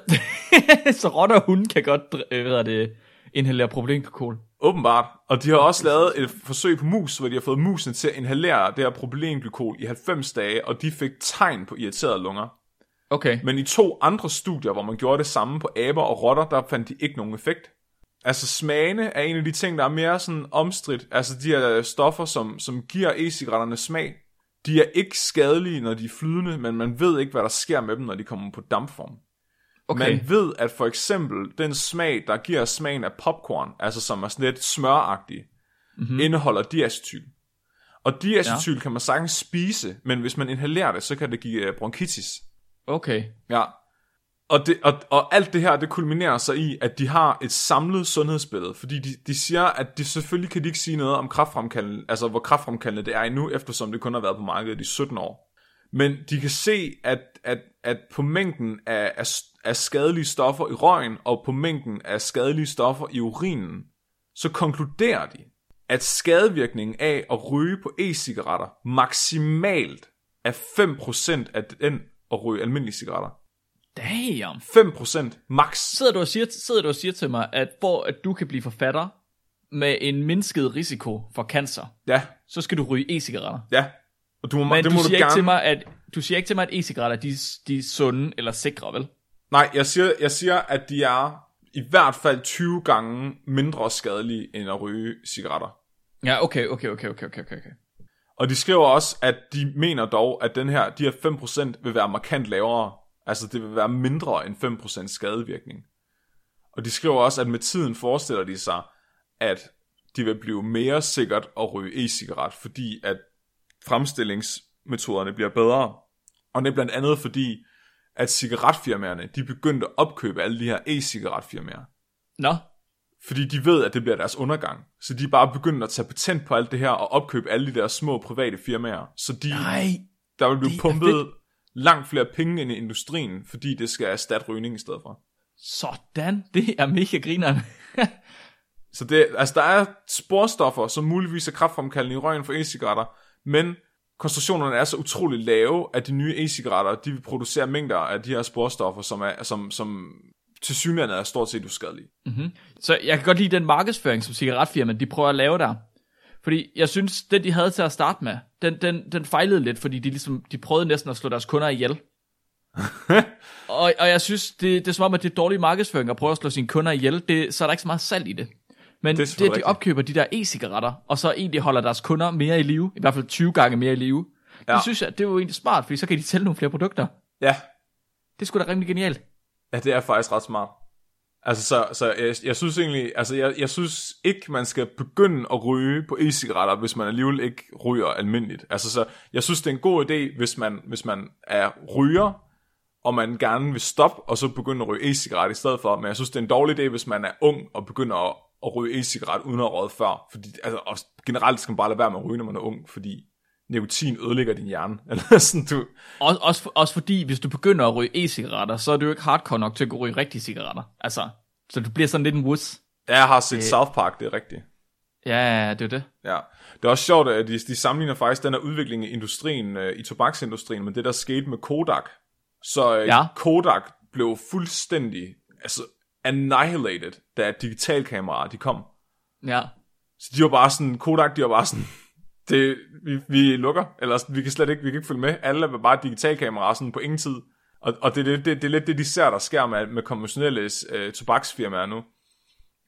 A: så rotter og hunde kan godt, dr- øh, hvad hedder det, inhalere problemglykol.
B: Åbenbart. Og de har også lavet et forsøg på mus, hvor de har fået musene til at inhalere det her propylenglykol i 90 dage, og de fik tegn på irriterede lunger.
A: Okay.
B: Men i to andre studier, hvor man gjorde det samme på aber og rotter, der fandt de ikke nogen effekt. Altså smagene er en af de ting, der er mere sådan omstridt. Altså de her stoffer, som, som giver e-cigaretterne smag, de er ikke skadelige, når de er flydende, men man ved ikke, hvad der sker med dem, når de kommer på dampform.
A: Okay.
B: Man ved, at for eksempel den smag, der giver smagen af popcorn, altså som er sådan lidt smøragtig, mm-hmm. indeholder diacetyl. Og diacetyl ja. kan man sagtens spise, men hvis man inhalerer det, så kan det give øh, bronkitis.
A: Okay.
B: Ja. Og, det, og, og alt det her, det kulminerer sig i, at de har et samlet sundhedsbillede, fordi de, de siger, at de selvfølgelig kan de ikke sige noget om kraftfremkaldende, altså hvor kraftfremkaldende det er endnu, eftersom det kun har været på markedet i 17 år. Men de kan se, at, at, at på mængden af, af, af skadelige stoffer i røgen, og på mængden af skadelige stoffer i urinen, så konkluderer de, at skadevirkningen af at ryge på e-cigaretter maksimalt er 5% af den at ryge almindelige cigaretter.
A: Damn.
B: 5% max.
A: Sidder du og siger, sidder du og siger til mig, at for at du kan blive forfatter med en mindsket risiko for cancer,
B: Ja,
A: så skal du ryge e-cigaretter.
B: ja. Og du må,
A: Men
B: det
A: du
B: må
A: siger
B: du gerne...
A: ikke til mig, at du siger ikke til mig, at e-cigaretter de, de er sunde eller sikre, vel?
B: Nej, jeg siger, jeg siger, at de er i hvert fald 20 gange mindre skadelige end at ryge cigaretter.
A: Ja, okay, okay, okay, okay, okay, okay. okay.
B: Og de skriver også, at de mener dog, at den her, de her 5% vil være markant lavere. Altså det vil være mindre end 5% skadevirkning. Og de skriver også, at med tiden forestiller de sig, at det vil blive mere sikkert at ryge e-cigaret, fordi at fremstillingsmetoderne bliver bedre. Og det er blandt andet fordi, at cigaretfirmaerne, de begyndte at opkøbe alle de her e-cigaretfirmaer.
A: Nå,
B: Fordi de ved, at det bliver deres undergang. Så de er bare begyndt at tage patent på alt det her og opkøbe alle de der små private firmaer. Så de,
A: nej. altså,
B: der vil
A: det
B: blive
A: er
B: pumpet langt flere penge ind i industrien, fordi det skal erstatte rygning i stedet for.
A: Sådan, det er mega grineren.
B: Så det, altså der er sporstoffer, som muligvis er kraftfremkaldende i røgen for e-cigaretter, men koncentrationerne er så utrolig lave, at de nye e-cigaretter, de vil producere mængder af de her sporstoffer, som, er, som, som til synligheden er stort set uskadelige.
A: Så jeg kan godt lide den markedsføring, som cigaretfirmaet de prøver at lave der. Fordi jeg synes, den de havde til at starte med, den, den, den fejlede lidt, fordi de, ligesom, de prøvede næsten at slå deres kunder ihjel. og, og jeg synes, det, det er som om, at det er dårlig markedsføring at prøve at slå sine kunder ihjel, det, så er der ikke så meget salg i det. Men
B: Det er
A: det, det
B: selvfølgelig
A: at de
B: rigtigt.
A: opkøber de der e-cigaretter, og så egentlig holder deres kunder mere i live, i hvert fald 20 gange mere i live, ja.
B: Ja.
A: det synes jeg, det er jo egentlig smart, fordi så kan de sælge nogle flere produkter.
B: Ja,
A: Det skulle sgu da rimelig genialt.
B: Ja, det er faktisk ret smart. Altså, så, så jeg, jeg synes egentlig, altså, jeg, jeg synes ikke, man skal begynde at ryge på e-cigaretter, hvis man alligevel ikke ryger almindeligt. Altså, så jeg synes, det er en god idé, hvis man, hvis man er ryger, og man gerne vil stoppe, og så begynde at ryge e-cigaret i stedet for. Men jeg synes, det er en dårlig idé, hvis man er ung og begynder at, at ryge e-cigaret uden at have røget før. Fordi, altså, og generelt skal man bare lade være med at ryge, når man er ung, fordi nikotin ødelægger din hjerne. Eller sådan, du,
A: Også, også, for- også fordi, hvis du begynder at ryge e-cigaretter, så er du jo ikke hardcore nok til at kunne ryge rigtige cigaretter. Altså, så du bliver sådan lidt en wuss.
B: Ja, jeg har set South Park, det er rigtigt.
A: Ja, det er jo det.
B: Ja. Det er også sjovt, at de, de sammenligner faktisk den her udvikling i industrien, øh, i tobaksindustrien, med det, der skete med Kodak. Så øh, ja.
A: Ja.
B: Kodak blev fuldstændig altså, annihilated, da digitalkameraer de kom.
A: Ja.
B: Så de var bare sådan, Kodak, de var bare sådan, det, vi, vi lukker, eller sådan, vi kan slet ikke, vi kan ikke følge med. Alle var bare digitalkameraer sådan på ingen tid. Og, og det, det, det, det er lidt det, de ser, der sker med, med konventionelle øh, tobaksfirmaer nu.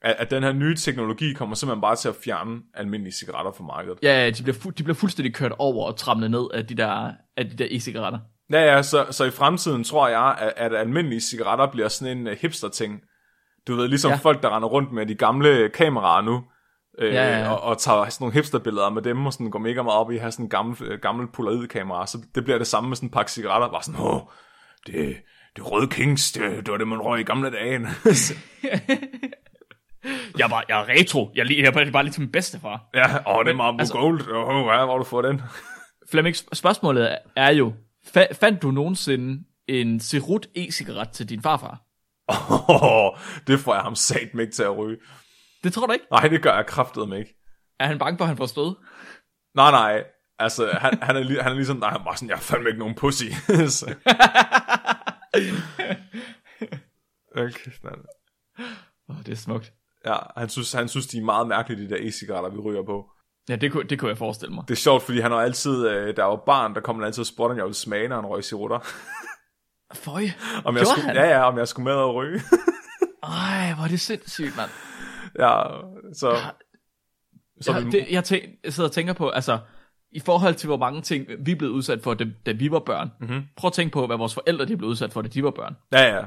B: At, at den her nye teknologi kommer simpelthen bare til at fjerne almindelige cigaretter fra markedet.
A: Ja, de bliver, fu- de bliver fuldstændig kørt over og tramlet ned af de der, af de der e-cigaretter.
B: Ja, ja, så, så i fremtiden tror jeg, at, at almindelige cigaretter bliver sådan en uh, hipster-ting. Du ved, ligesom ja.
A: Ja.
B: folk, der render rundt med de gamle kameraer nu, øh,
A: Ja, ja, ja.
B: Og, og tager sådan nogle hipsterbilleder med dem, og sådan går mega meget op i at have sådan en gammel, øh, gammel polaroid-kamera. Så det bliver det samme med sådan en pakke cigaretter. Bare sådan, åh, det, det røde kings, det, det var det, man røg i gamle dage.
A: Jeg var, jeg er retro. Jeg, li- jeg var bare lidt som bedstefar.
B: ja, åh, det er Marlboro altså,
A: altså-
B: Gold. Åh, ja, hvor har du fået den?
A: Flemming, sp- spørgsmålet er jo, fa- fandt du nogensinde en Cerut e-cigaret til din farfar?
B: Åh, det får jeg ham sat mig ikke til at ryge.
A: Det tror du ikke?
B: Nej, det gør jeg kraftedeme ikke.
A: Er han bange for, at han får stød?
B: Nej, nej. Altså, han, han, er, li- han er ligesom, nej, han var sådan, jeg er fandme ikke nogen pussy. Så- okay, sådan.
A: Oh, det er smukt.
B: ja, han synes, han synes, de er meget mærkelige, de der e-cigaretter, vi ryger på.
A: Ja, det kunne, det kunne jeg forestille mig.
B: Det er sjovt, fordi han var altid, øh, der var barn, der kom han altid og spurgte, om jeg ville smage, når han røg cirutter.
A: Føj.
B: om jeg
A: Gjorde
B: skulle,
A: han?
B: ja, ja, om jeg skulle med og ryge.
A: Ej, hvor er det sindssygt, mand.
B: ja, så... så
A: Ja, det, jeg, tænk, jeg sidder og tænker på, altså, i forhold til, hvor mange ting vi blev udsat for, da, da vi var børn. Mm-hmm. Prøv at tænke på, hvad vores forældre de blev udsat for, da de var børn.
B: ja, ja.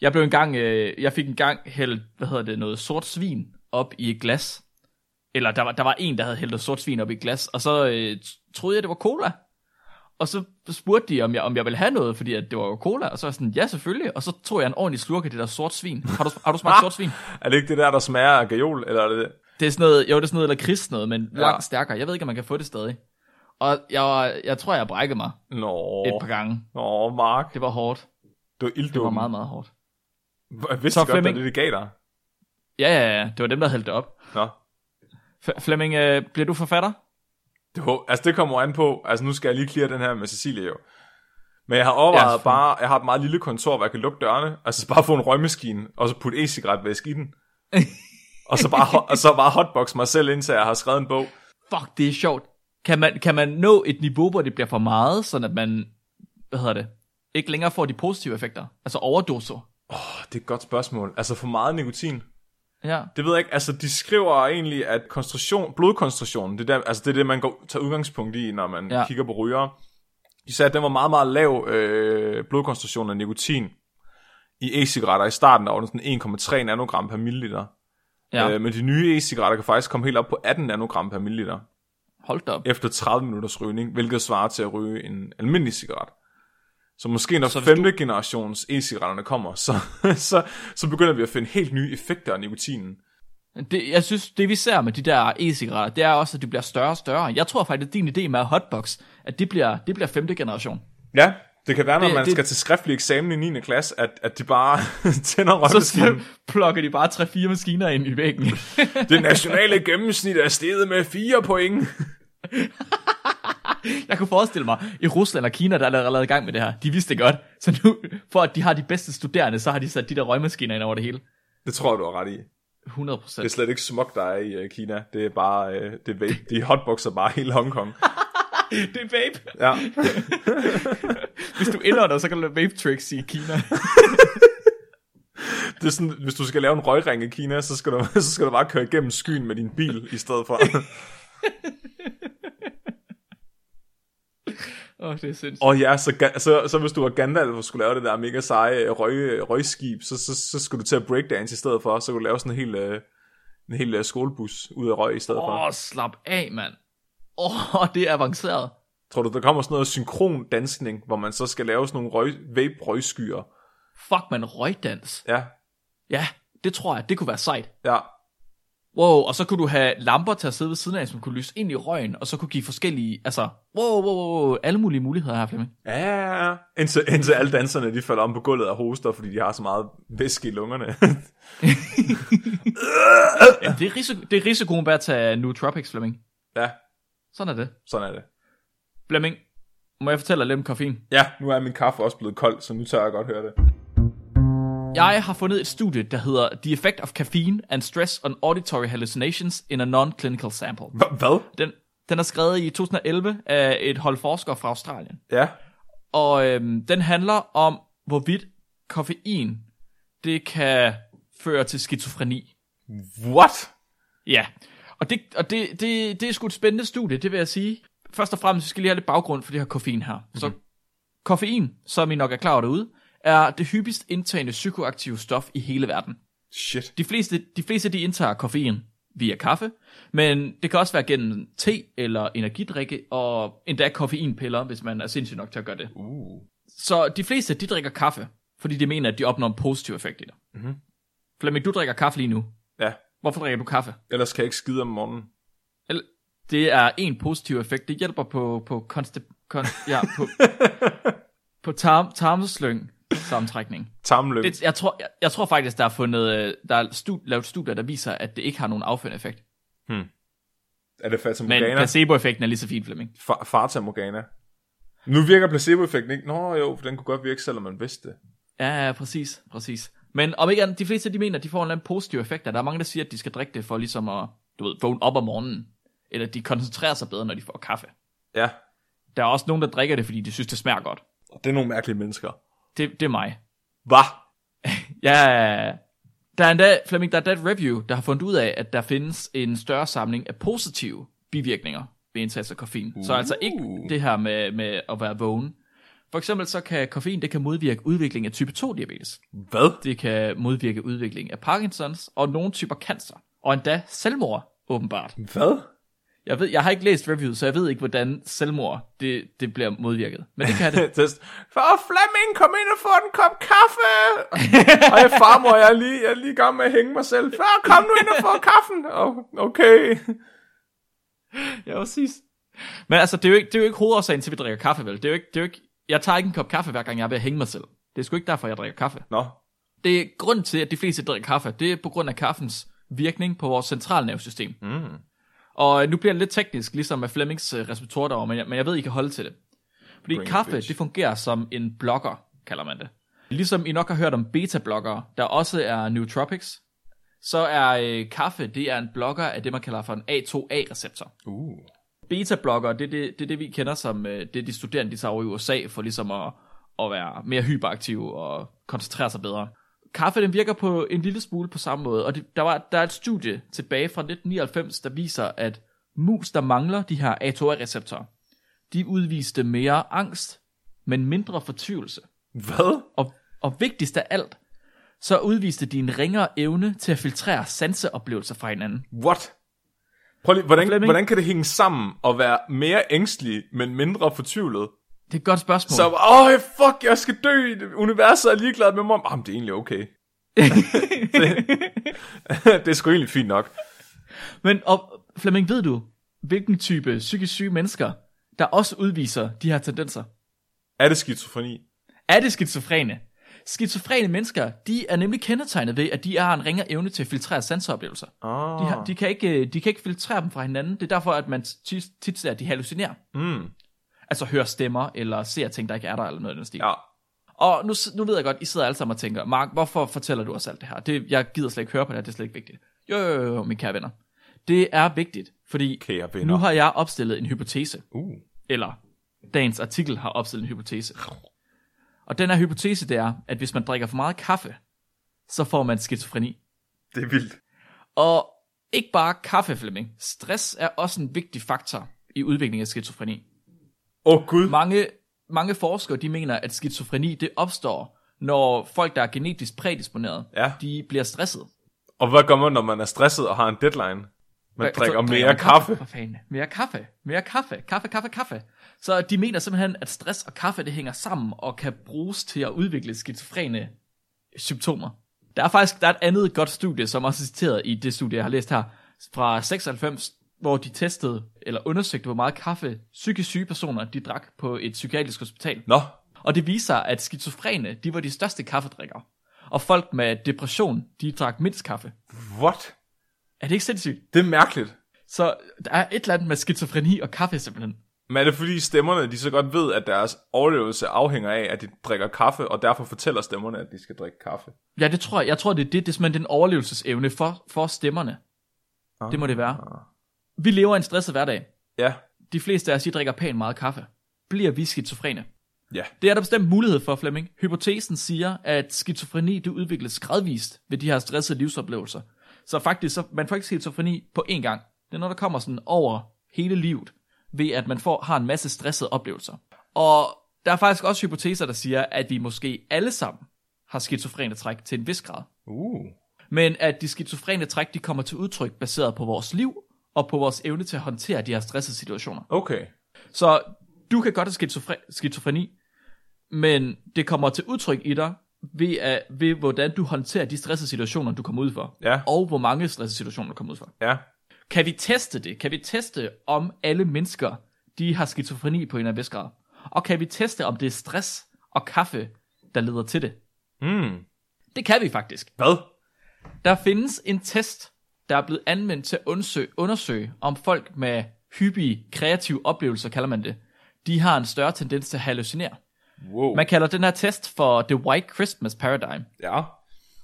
A: Jeg blev engang, øh, jeg fik engang hældt, hvad hedder det, noget sort svin op i et glas. Eller der var, der var en, der havde hældt noget sort svin op i et glas, og så øh, t- troede jeg, det var cola. Og så spurgte de, om jeg, om jeg ville have noget, fordi at det var jo cola. Og så var jeg sådan, ja selvfølgelig. Og så tog jeg en ordentlig slurk af det der sort svin. Har du, har du smagt sort svin?
B: Er det ikke det der, der smager af gajol, eller er det det?
A: Det er sådan noget, jo, det er sådan noget lakrids noget, men
B: Ja.
A: ja. langt stærkere. Jeg ved ikke, om man kan få det stadig. Og jeg, var, jeg tror, jeg brækkede mig
B: Nå,
A: et par gange.
B: Nå Mark,
A: Det var hårdt.
B: det var ilddåben.
A: Det var meget, meget hårdt.
B: Jeg vidste
A: Så
B: godt, Flemming.
A: Flemming-
B: det er det, de gav dig.
A: Ja, ja, ja. Det var dem, der hældte det op.
B: Nå,
A: F- Flemming, øh, bliver du forfatter?
B: Det, hå- altså det kommer an på, altså nu skal jeg lige klire den her med Cecilie jo. Men jeg har overvejet
A: Ja,
B: ja, bare, jeg har et meget lille kontor, hvor jeg kan lukke dørene, altså bare få en røgmaskine, og så putte e-cigaretvæske i den. og, så bare, ho- og så bare hotbox mig selv, indtil jeg har skrevet en bog.
A: Fuck, det er sjovt. Kan man, kan man nå et niveau, hvor det bliver for meget, sådan at man, hvad hedder det, ikke længere får de positive effekter? Altså overdoser.
B: Åh, det er et godt spørgsmål. Altså for meget nikotin.
A: Ja.
B: Det ved jeg ikke, altså de skriver egentlig, at koncentration, blodkoncentrationen, det, er der, altså det er det, man går, tager udgangspunkt i, når man ja.
A: Ja.
B: kigger på rygere. De sagde, at den var meget, meget lav øh, blodkoncentration af nikotin i e-cigaretter i starten, der var den sådan 1,3 nanogram per milliliter.
A: Ja.
B: Øh, men de nye e-cigaretter kan faktisk komme helt op på 18 nanogram per milliliter
A: Hold da op.
B: efter 30 minutters rygning, hvilket svarer til at ryge en almindelig cigaret. Så måske når så
A: Så hvis
B: femte du... generations e-cigaretterne kommer, så, så, så begynder vi at finde helt nye effekter af nikotinen.
A: Det, jeg synes, det vi ser med de der e-cigaretter, det er også, at de bliver større og større. Jeg tror faktisk, at din idé med hotbox, at det bliver, det bliver femte generation.
B: Ja, det kan være, når det,
A: Det-
B: man det...
A: det-
B: skal til skriftlig eksamen i 9. klasse, at, at de bare tænder
A: Så, så
B: røgmaskinen.
A: plukker de bare 3-4 maskiner ind i væggen.
B: Det nationale gennemsnit er steget med 4 point.
A: Jeg kunne forestille mig, i Rusland og Kina, der er allerede i gang med det her. De vidste det godt. Så nu, for at de har de bedste studerende, så har de sat de der røgmaskiner ind over det hele.
B: Det tror jeg, du har ret i.
A: 100
B: Det er slet ikke smog, der er i øh, Kina. Det er bare, øh, det er vape. De hotboxer bare hele Hongkong.
A: Det er vape.
B: Ja.
A: Hvis du indånder, så kan du lave vape tricks i Kina.
B: Det er sådan, hvis du skal lave en røgring i Kina, så skal du, så skal du bare køre igennem skyen med din bil i stedet for.
A: Åh, oh, det er sindssygt.
B: Og ja, så, Ga- så, så hvis du var Gandalf og skulle lave det der mega seje øh, røg, røgskib, så, så, så skulle du til at breakdance i stedet for, så kunne du lave sådan en hel, øh, en hel øh, skolebus ud af røg i stedet for.
A: Åh, oh, slap af, mand. Åh, oh, det er avanceret.
B: Tror du, der kommer sådan noget synkron dansning, hvor man så skal lave sådan nogle røg, vape røgskyer?
A: Fuck, man, røgdans.
B: Ja,
A: Ja, det tror jeg, det kunne være sejt.
B: ja.
A: Wow, og så kunne du have lamper til at sidde ved siden af, som kunne lyse ind i røgen, og så kunne give forskellige, altså, wow, wow, wow, alle mulige muligheder her, Flemming.
B: Ja, ja, ja. Indtil, indtil alle danserne de falder om på gulvet og hoster, fordi de har så meget væske i lungerne.
A: Ja, det, er risiko, det er risikoen ved at tage nootropics, Flemming.
B: ja,
A: Sådan er det.
B: sådan er det.
A: Flemming, må jeg fortælle dig lidt om koffein?
B: Ja, nu er min kaffe også blevet kold, så nu tør jeg godt høre det.
A: Jeg har fundet et studie, der hedder The Effect of Caffeine and Stress on Auditory Hallucinations in a Non-Clinical Sample.
B: Hva- Hvad?
A: Den, den er skrevet i 2011 af et hold forskere fra Australien.
B: Ja.
A: Og øhm, den handler om, hvorvidt koffein, det kan føre til skizofreni.
B: What?
A: Ja, og det, og det, det, det er sgu et spændende studie, det vil jeg sige. Først og fremmest, vi skal lige have lidt baggrund for det her koffein her. Mm-hmm. Så koffein, som I nok er klar over derude, er det hyppigst indtagende psykoaktive stof i hele verden.
B: Shit.
A: De fleste, de fleste de indtager koffein via kaffe, men det kan også være gennem te eller energidrikke, og endda koffeinpiller, hvis man er sindssyg nok til at gøre det.
B: Uh.
A: Så de fleste, de drikker kaffe, fordi de mener, at de opnår en positiv effekt i det. Mm-hmm. Flemming, du drikker kaffe lige nu.
B: Ja,
A: Hvorfor drikker du kaffe?
B: ellers kan jeg ikke skide om morgenen.
A: Eller- Det er en positiv effekt. Det hjælper på, på, konsti- kon, ja, på, på tarm, tarmslyng samtrækning.
B: Tarmløb.
A: Det, jeg, tror, jeg, jeg tror faktisk, der er, fundet, øh, der er stud, lavet studier, der viser, at det ikke har nogen afførende effekt.
B: Er det fat som
A: Men
B: Morgana?
A: placeboeffekten er lige så fin, Flemming.
B: Fa- Fata Morgana. Nu virker placeboeffekten ikke. Nå jo, for den kunne godt virke, selvom man vidste det.
A: Ja, ja, præcis, præcis. Men om ikke andet, de fleste de mener, at de får en eller anden positiv effekt, og der er mange, der siger, at de skal drikke det for ligesom at, du ved, vågne op om morgenen. Eller de koncentrerer sig bedre, når de får kaffe.
B: Ja,
A: Der er også nogen, der drikker det, fordi de synes, det smager godt.
B: og det er nogle mærkelige mennesker.
A: Det, det er mig.
B: Hvad?
A: Ja, der er endda, Flemming, der er endda et review, der har fundet ud af, at der findes en større samling af positive bivirkninger ved indsats af koffein. Uh. Så altså ikke det her med, med at være vågen. For eksempel så kan koffein, det kan modvirke udvikling af type 2-diabetes.
B: Hvad?
A: Det kan modvirke udvikling af Parkinsons og nogle typer cancer. Og endda selvmord, åbenbart.
B: Hvad?
A: Jeg, ved, jeg har ikke læst reviewet, så jeg ved ikke, hvordan selvmord det, det bliver modvirket. Men det kan det.
B: Test. Far Flemming, kom ind og få en kop kaffe! Ej, farmor, jeg er lige, jeg er lige i gang med at hænge mig selv. Far, kom nu ind og få kaffen! Oh, okay.
A: ja, præcis. Men altså, det er, jo ikke, det er jo ikke hovedårsagen til, at vi drikker kaffe, vel? Det er jo ikke, det er jo ikke, jeg tager ikke en kop kaffe, hver gang jeg er ved at hænge mig selv. Det er sgu ikke derfor, jeg drikker kaffe.
B: Nå,
A: Det er grund til, at de fleste drikker kaffe. Det er på grund af kaffens virkning på vores centralnervesystem. Mm. Og øh, nu bliver det lidt teknisk, ligesom med Flemings øh, repertoire derovre, men jeg, men jeg ved, I kan holde til det. Fordi
B: Bring it,
A: kaffe,
B: bitch.
A: det fungerer som en blokker, kalder man det. Ligesom I nok har hørt om beta-blokkere, der også er nootropics, så er øh, kaffe, det er en blokker af det, man kalder for en A2A-receptor. Uh. Beta-blokker, det er det, det, er det, vi kender som, øh, det er de studerende, de tager over i USA, for ligesom at, at være mere hyperaktive og koncentrere sig bedre. Kaffe, den virker på en lille smule på samme måde, og det, der, var, der er et studie tilbage fra 1999, der viser, at mus, der mangler de her A2A-receptorer, de udviste mere angst, men mindre fortvivlelse.
B: hvad?
A: Og, og vigtigst af alt, så udviste de en ringere evne til at filtrere sanseoplevelser fra hinanden.
B: What? Prøv lige, hvordan,
A: Flemming?
B: hvordan kan det hænge sammen at være mere ængstelig, men mindre fortvivlet?
A: Det er et godt spørgsmål.
B: Så, åh, oh, fuck, jeg skal dø, universet er ligeglad med mig. Jamen, det er egentlig okay. det, det er sgu egentlig fint nok.
A: Men og, Flemming, ved du, hvilken type psykisk syge mennesker, der også udviser de her tendenser?
B: Er det skizofreni?
A: Er det skizofrene? Skizofrene mennesker, de er nemlig kendetegnet ved, at de har en ringere evne til at filtrere sanseoplevelser.
B: Ah.
A: De, har, de, kan ikke, øh, de kan ikke filtrere dem fra hinanden. Det er derfor, at man tit, tit ser, at de hallucinerer.
B: Mm.
A: Altså hører stemmer, eller ser ting, der ikke er der, eller noget af den stil.
B: Ja.
A: Og nu, nu ved jeg godt, I sidder alle sammen og tænker, Mark, hvorfor fortæller du os alt det her? Det, jeg gider slet ikke høre på det her, det er slet ikke vigtigt. Jo, jo, jo, jo mine kære venner. Det er vigtigt, fordi
B: Kære venner.
A: nu har jeg opstillet en hypotese.
B: Uh.
A: Eller dagens artikel har opstillet en hypotese. Og den her hypotese, det er, at hvis man drikker for meget kaffe, så får man skizofreni.
B: Det er vildt.
A: Og ikke bare kaffe, Flemming. Stress er også en vigtig faktor i udviklingen af skizofreni.
B: Åh, oh, Gud.
A: Mange, mange forskere de mener, at skizofreni det opstår, når folk, der er genetisk prædisponeret,
B: Ja.
A: de bliver stresset.
B: Og hvad gør man, når man er stresset og har en deadline? Man
A: Altså, Hvad-
B: drikker
A: så
B: mere
A: man
B: kaffe.
A: For fanden. Mere kaffe. Mere kaffe. Kaffe, kaffe, kaffe. Så de mener simpelthen, at stress og kaffe det hænger sammen og kan bruges til at udvikle skizofrene symptomer. Der er faktisk der er et andet godt studie, som også er citeret i det studie, jeg har læst her, fra 96, hvor de testede eller undersøgte, hvor meget kaffe psykisk syge personer de drak på et psykiatrisk hospital.
B: Nå,
A: Og det viser sig, at skizofrene, de var de største kaffedrikkere. Og folk med depression, de drak mindst kaffe.
B: what?
A: Er det ikke sindssygt?
B: Det er mærkeligt.
A: Så der er et eller andet med skizofreni og kaffe simpelthen.
B: Men er det fordi stemmerne, de så godt ved, at deres overlevelse afhænger af, at de drikker kaffe, og derfor fortæller stemmerne, at de skal drikke kaffe?
A: Ja, det tror jeg. Jeg tror, det er det, det er simpelthen den overlevelsesevne for, for stemmerne. Det må det være. Vi lever i en stresset hverdag.
B: Ja,
A: De fleste af os, de drikker pænt meget kaffe. Bliver vi skizofrene?
B: ja.
A: Det er der bestemt mulighed for, Flemming. Hypotesen siger, at skizofreni det udvikles gradvist ved de her stressede livsoplevelser. Så faktisk, så man får ikke skizofreni på én gang. Det er noget, der kommer sådan over hele livet, ved at man får, har en masse stressede oplevelser. Og der er faktisk også hypoteser, der siger, at vi måske alle sammen har skizofrene træk til en vis grad.
B: Uh.
A: Men at de skizofrene træk, de kommer til udtryk baseret på vores liv og på vores evne til at håndtere de her stressede situationer.
B: Okay.
A: Så du kan godt have skizofre- skizofreni, men det kommer til udtryk i dig, ved, at, ved hvordan du håndterer de stressede situationer, du kommer ud for.
B: Ja.
A: Og hvor mange stressede situationer, du kommer ud for.
B: Ja.
A: Kan vi teste det? Kan vi teste, om alle mennesker, de har skizofreni på en eller anden vis grad? Og kan vi teste, om det er stress og kaffe, der leder til det?
B: Mm.
A: Det kan vi faktisk.
B: Hvad?
A: Der findes en test, der er blevet anvendt til at undersøge, undersøge om folk med hyppige kreative oplevelser, kalder man det, de har en større tendens til at hallucinere.
B: Wow.
A: Man kalder den her test for The White Christmas Paradigm.
B: Ja.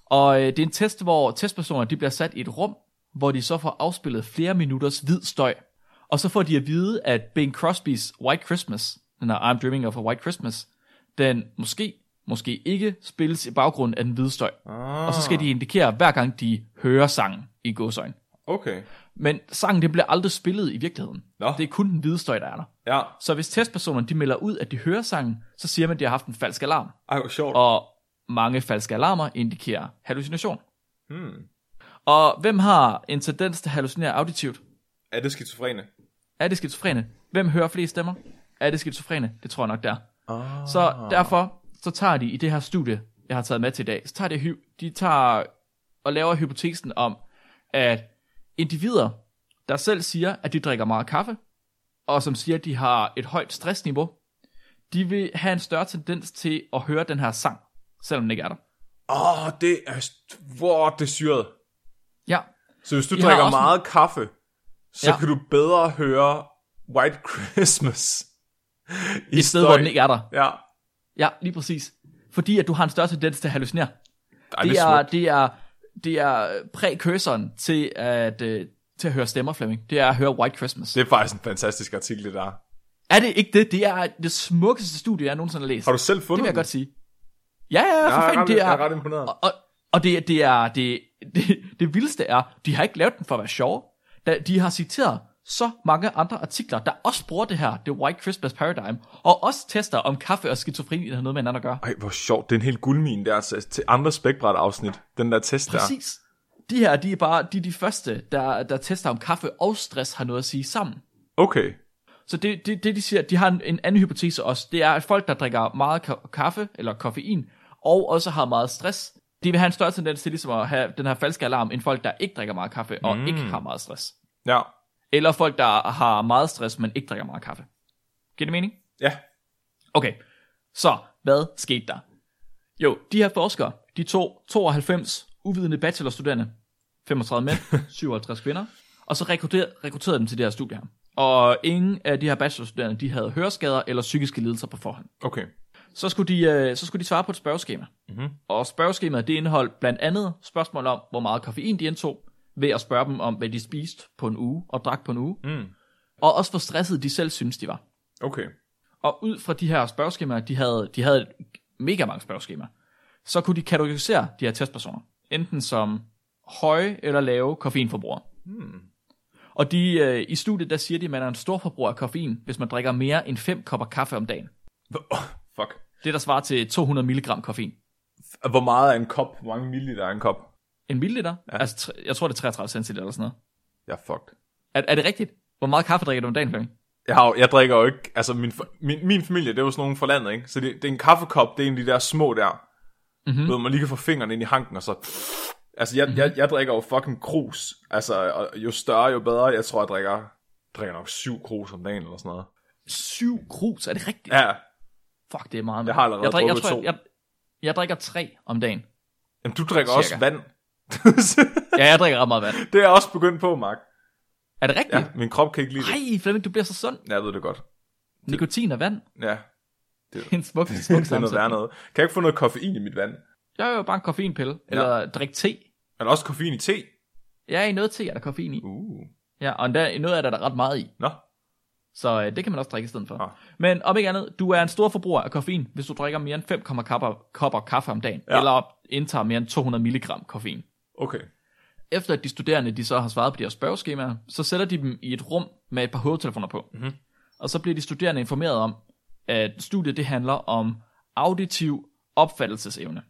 A: Og øh, det er en test, hvor testpersoner de bliver sat i et rum, hvor de så får afspillet flere minutters hvid støj. Og så får de at vide, at Bing Crosby's White Christmas, den her I'm Dreaming of a White Christmas, den måske, måske ikke spilles i baggrunden af den hvide støj.
B: Ah.
A: Og så skal de indikere, hver gang de hører sangen i godsøjne.
B: Okay.
A: Men sangen, det bliver aldrig spillet i virkeligheden.
B: Nå.
A: Det er kun den hvide støj, der er der.
B: Ja.
A: Så hvis testpersonerne de melder ud, at de hører sangen, så siger man, at de har haft en falsk alarm.
B: Ej, hvor sjovt.
A: Og mange falske alarmer indikerer hallucination.
B: Hmm.
A: Og hvem har en tendens til at hallucinere auditivt?
B: Er det skizofrene?
A: Er det skizofrene? Hvem hører flest stemmer? Er det skizofrene? Det tror jeg nok, der.
B: Ah.
A: Så derfor, så tager de i det her studie, jeg har taget med til i dag, så tager de, hy- de tager og laver hypotesen om, at individer, der selv siger, at de drikker meget kaffe, og som siger, at de har et højt stressniveau, de vil have en større tendens til at høre den her sang, selvom den ikke er der.
B: Åh, oh, det er... st- Hvor er det syret.
A: Ja,
B: Så hvis du
A: Vi har
B: drikker
A: også en-
B: meget kaffe, så ja.
A: Ja.
B: kan du bedre høre White Christmas. I
A: et sted, hvor den ikke er der.
B: Ja.
A: Ja, lige præcis. Fordi at du har en større tendens til at hallucinere.
B: Ej,
A: det,
B: det
A: er,
B: er, smukt.
A: det er det er prækursoren til at øh, til at høre stemmer, Flemming. Det er at høre White Christmas.
B: det er faktisk en fantastisk artikel, det der.
A: Er det ikke det? Det er det smukkeste studie, jeg nogensinde har læst.
B: Har du selv fundet
A: det vil jeg
B: den?
A: godt sige. Ja, ja, ja, for
B: jeg er
A: fanden,
B: ret-
A: det er...
B: jeg er ret imponeret.
A: Og, og, og det, det er... Det, det, det vildeste er, de har ikke lavet den for at være sjove. Da de har citeret så mange andre artikler, der også bruger det her, The White Christmas Paradigm, og også tester om kaffe og skizofreni har noget med hinanden at gøre.
B: Ej, hvor sjovt. Det er en helt guldmine der altså, til andre spækbræt afsnit. Den der test der.
A: Præcis. De her, de er bare de, er de første, der, der tester om kaffe og stress har noget at sige sammen.
B: Okay.
A: Så det, det, det de siger, de har en, en anden hypotese også, det er, at folk, der drikker meget ka- kaffe eller koffein, og også har meget stress, de vil have en større tendens til ligesom at have den her falske alarm, end folk, der ikke drikker meget kaffe og mm. ikke har meget stress.
B: Ja.
A: Eller folk, der har meget stress, men ikke drikker meget kaffe. Giver det mening?
B: Ja.
A: Okay, så hvad skete der? Jo, de her forskere, de tog 92 uvidende bachelorstuderende, 35 mænd, 57 kvinder, og så rekrutterede, rekrutterede dem til det her studie her. Og ingen af de her bachelorstuderende, de havde høreskader eller psykiske lidelser på forhånd.
B: Okay.
A: Så skulle de, øh, så skulle de svare på et spørgeskema. Mm-hmm. Og spørgeskemaet, det indeholdt blandt andet spørgsmål om, hvor meget koffein de indtog, ved at spørge dem om, hvad de spiste på en uge og drak på en uge.
B: Mm.
A: Og også hvor stresset de selv synes, de var.
B: Okay.
A: Og ud fra de her spørgeskemaer, de havde, de havde mega mange spørgeskemaer, så kunne de kategorisere de her testpersoner, enten som høje eller lave koffeinforbrugere. Hmm. Og de, øh, i studiet der siger de, at man er en stor forbruger af koffein, hvis man drikker mere end 5 kopper kaffe om dagen.
B: Åh, Fuck.
A: Det der svarer til 200 mg koffein.
B: Hvor meget er en kop? Hvor mange milliliter er en kop?
A: En milliliter? Ja. Altså, tre- jeg tror, det er 33 centiliter eller sådan noget.
B: Jeg er fucked.
A: Er, er det rigtigt? Hvor meget kaffe drikker du om dagen, Flemming?
B: Jeg, har, jo- jeg drikker jo ikke, altså min, fa- min, min familie, det er jo sådan nogen fra landet, ikke?
A: Mhm.
B: Så det, det er en kaffekop, det er en af de der små der, mm-hmm. ved man lige kan få fingrene ind i hanken, og så Altså, jeg, jeg, jeg drikker jo fucking krus. Altså, og jo større, jo bedre. Jeg tror, jeg drikker, drikker nok syv krus om dagen eller sådan noget.
A: Syv krus, er det rigtigt?
B: Ja,
A: Fuck, det er meget. mand.
B: Jeg har allerede
A: jeg drikker,
B: drukket
A: jeg, tror,
B: to.
A: jeg, jeg, jeg drikker tre om dagen.
B: Jamen, du drikker også
A: Cirka.
B: vand.
A: Ja, jeg drikker ret meget vand.
B: det er jeg også begyndt på, Mark.
A: Er det rigtigt?
B: Ja, min krop kan ikke lide det.
A: Nej, Flemming, du bliver så sund.
B: Ja, jeg ved det godt.
A: Nikotin og vand.
B: Ja,
A: En smuk, smuk
B: det er noget værre
A: sammensætning.
B: noget. Kan jeg ikke få noget koffein i mit vand?
A: Jeg er jo bare en koffeinpille. Eller drik te.
B: Eller også koffein i te?
A: Ja, i noget te er der koffein i.
B: Uh.
A: Ja, og endda, i noget af det er der ret meget i.
B: Nå,
A: Så øh, det kan man også drikke i stedet for.
B: Ah.
A: Men om ikke andet, du er en stor forbruger af koffein, hvis du drikker mere end 5 kopper, kopper kaffe om dagen.
B: Ja.
A: Ja. Eller indtager mere end 200 mg koffein.
B: okay.
A: Efter at de studerende de så har svaret på de her spørgeskemaer, så sætter de dem i et rum med et par hovedtelefoner på.
B: Mhm.
A: Og så bliver de studerende informeret om, at studiet det handler om auditiv opfattelsesevne.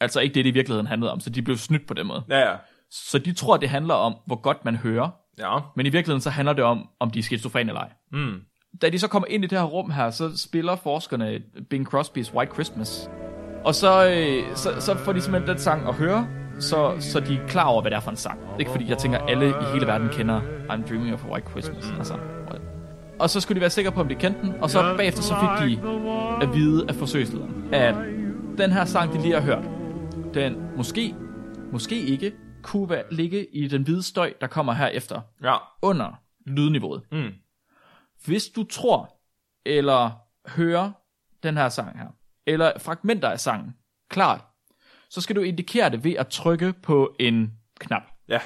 A: Altså ikke det, det i virkeligheden handlede om, så de blev snydt på den måde.
B: Ja, ja.
A: Så de tror, det handler om, hvor godt man hører,
B: Ja.
A: men i virkeligheden så handler det om, om de er skizofrene eller ej.
B: Mm.
A: Da de så kommer ind i det her rum her, så spiller forskerne Bing Crosby's White Christmas. Og så, øh, så, så får de simpelthen den sang at høre, så, så de er klar over, hvad det er for en sang. Ikke fordi jeg tænker, alle i hele verden kender I'm Dreaming of a White Christmas. Altså, what? og så skulle de være sikre på, om de kendte den, og så bagefter så fik de at vide af forsøgslederen, at den her sang, de lige har hørt, den måske, måske ikke, kunne være, ligge i den hvide støj, der kommer herefter,
B: Ja.
A: under lydniveauet.
B: Mm.
A: Hvis du tror, eller hører den her sang her, eller fragmenter af sangen, klart, så skal du indikere det ved at trykke på en knap.
B: Ja.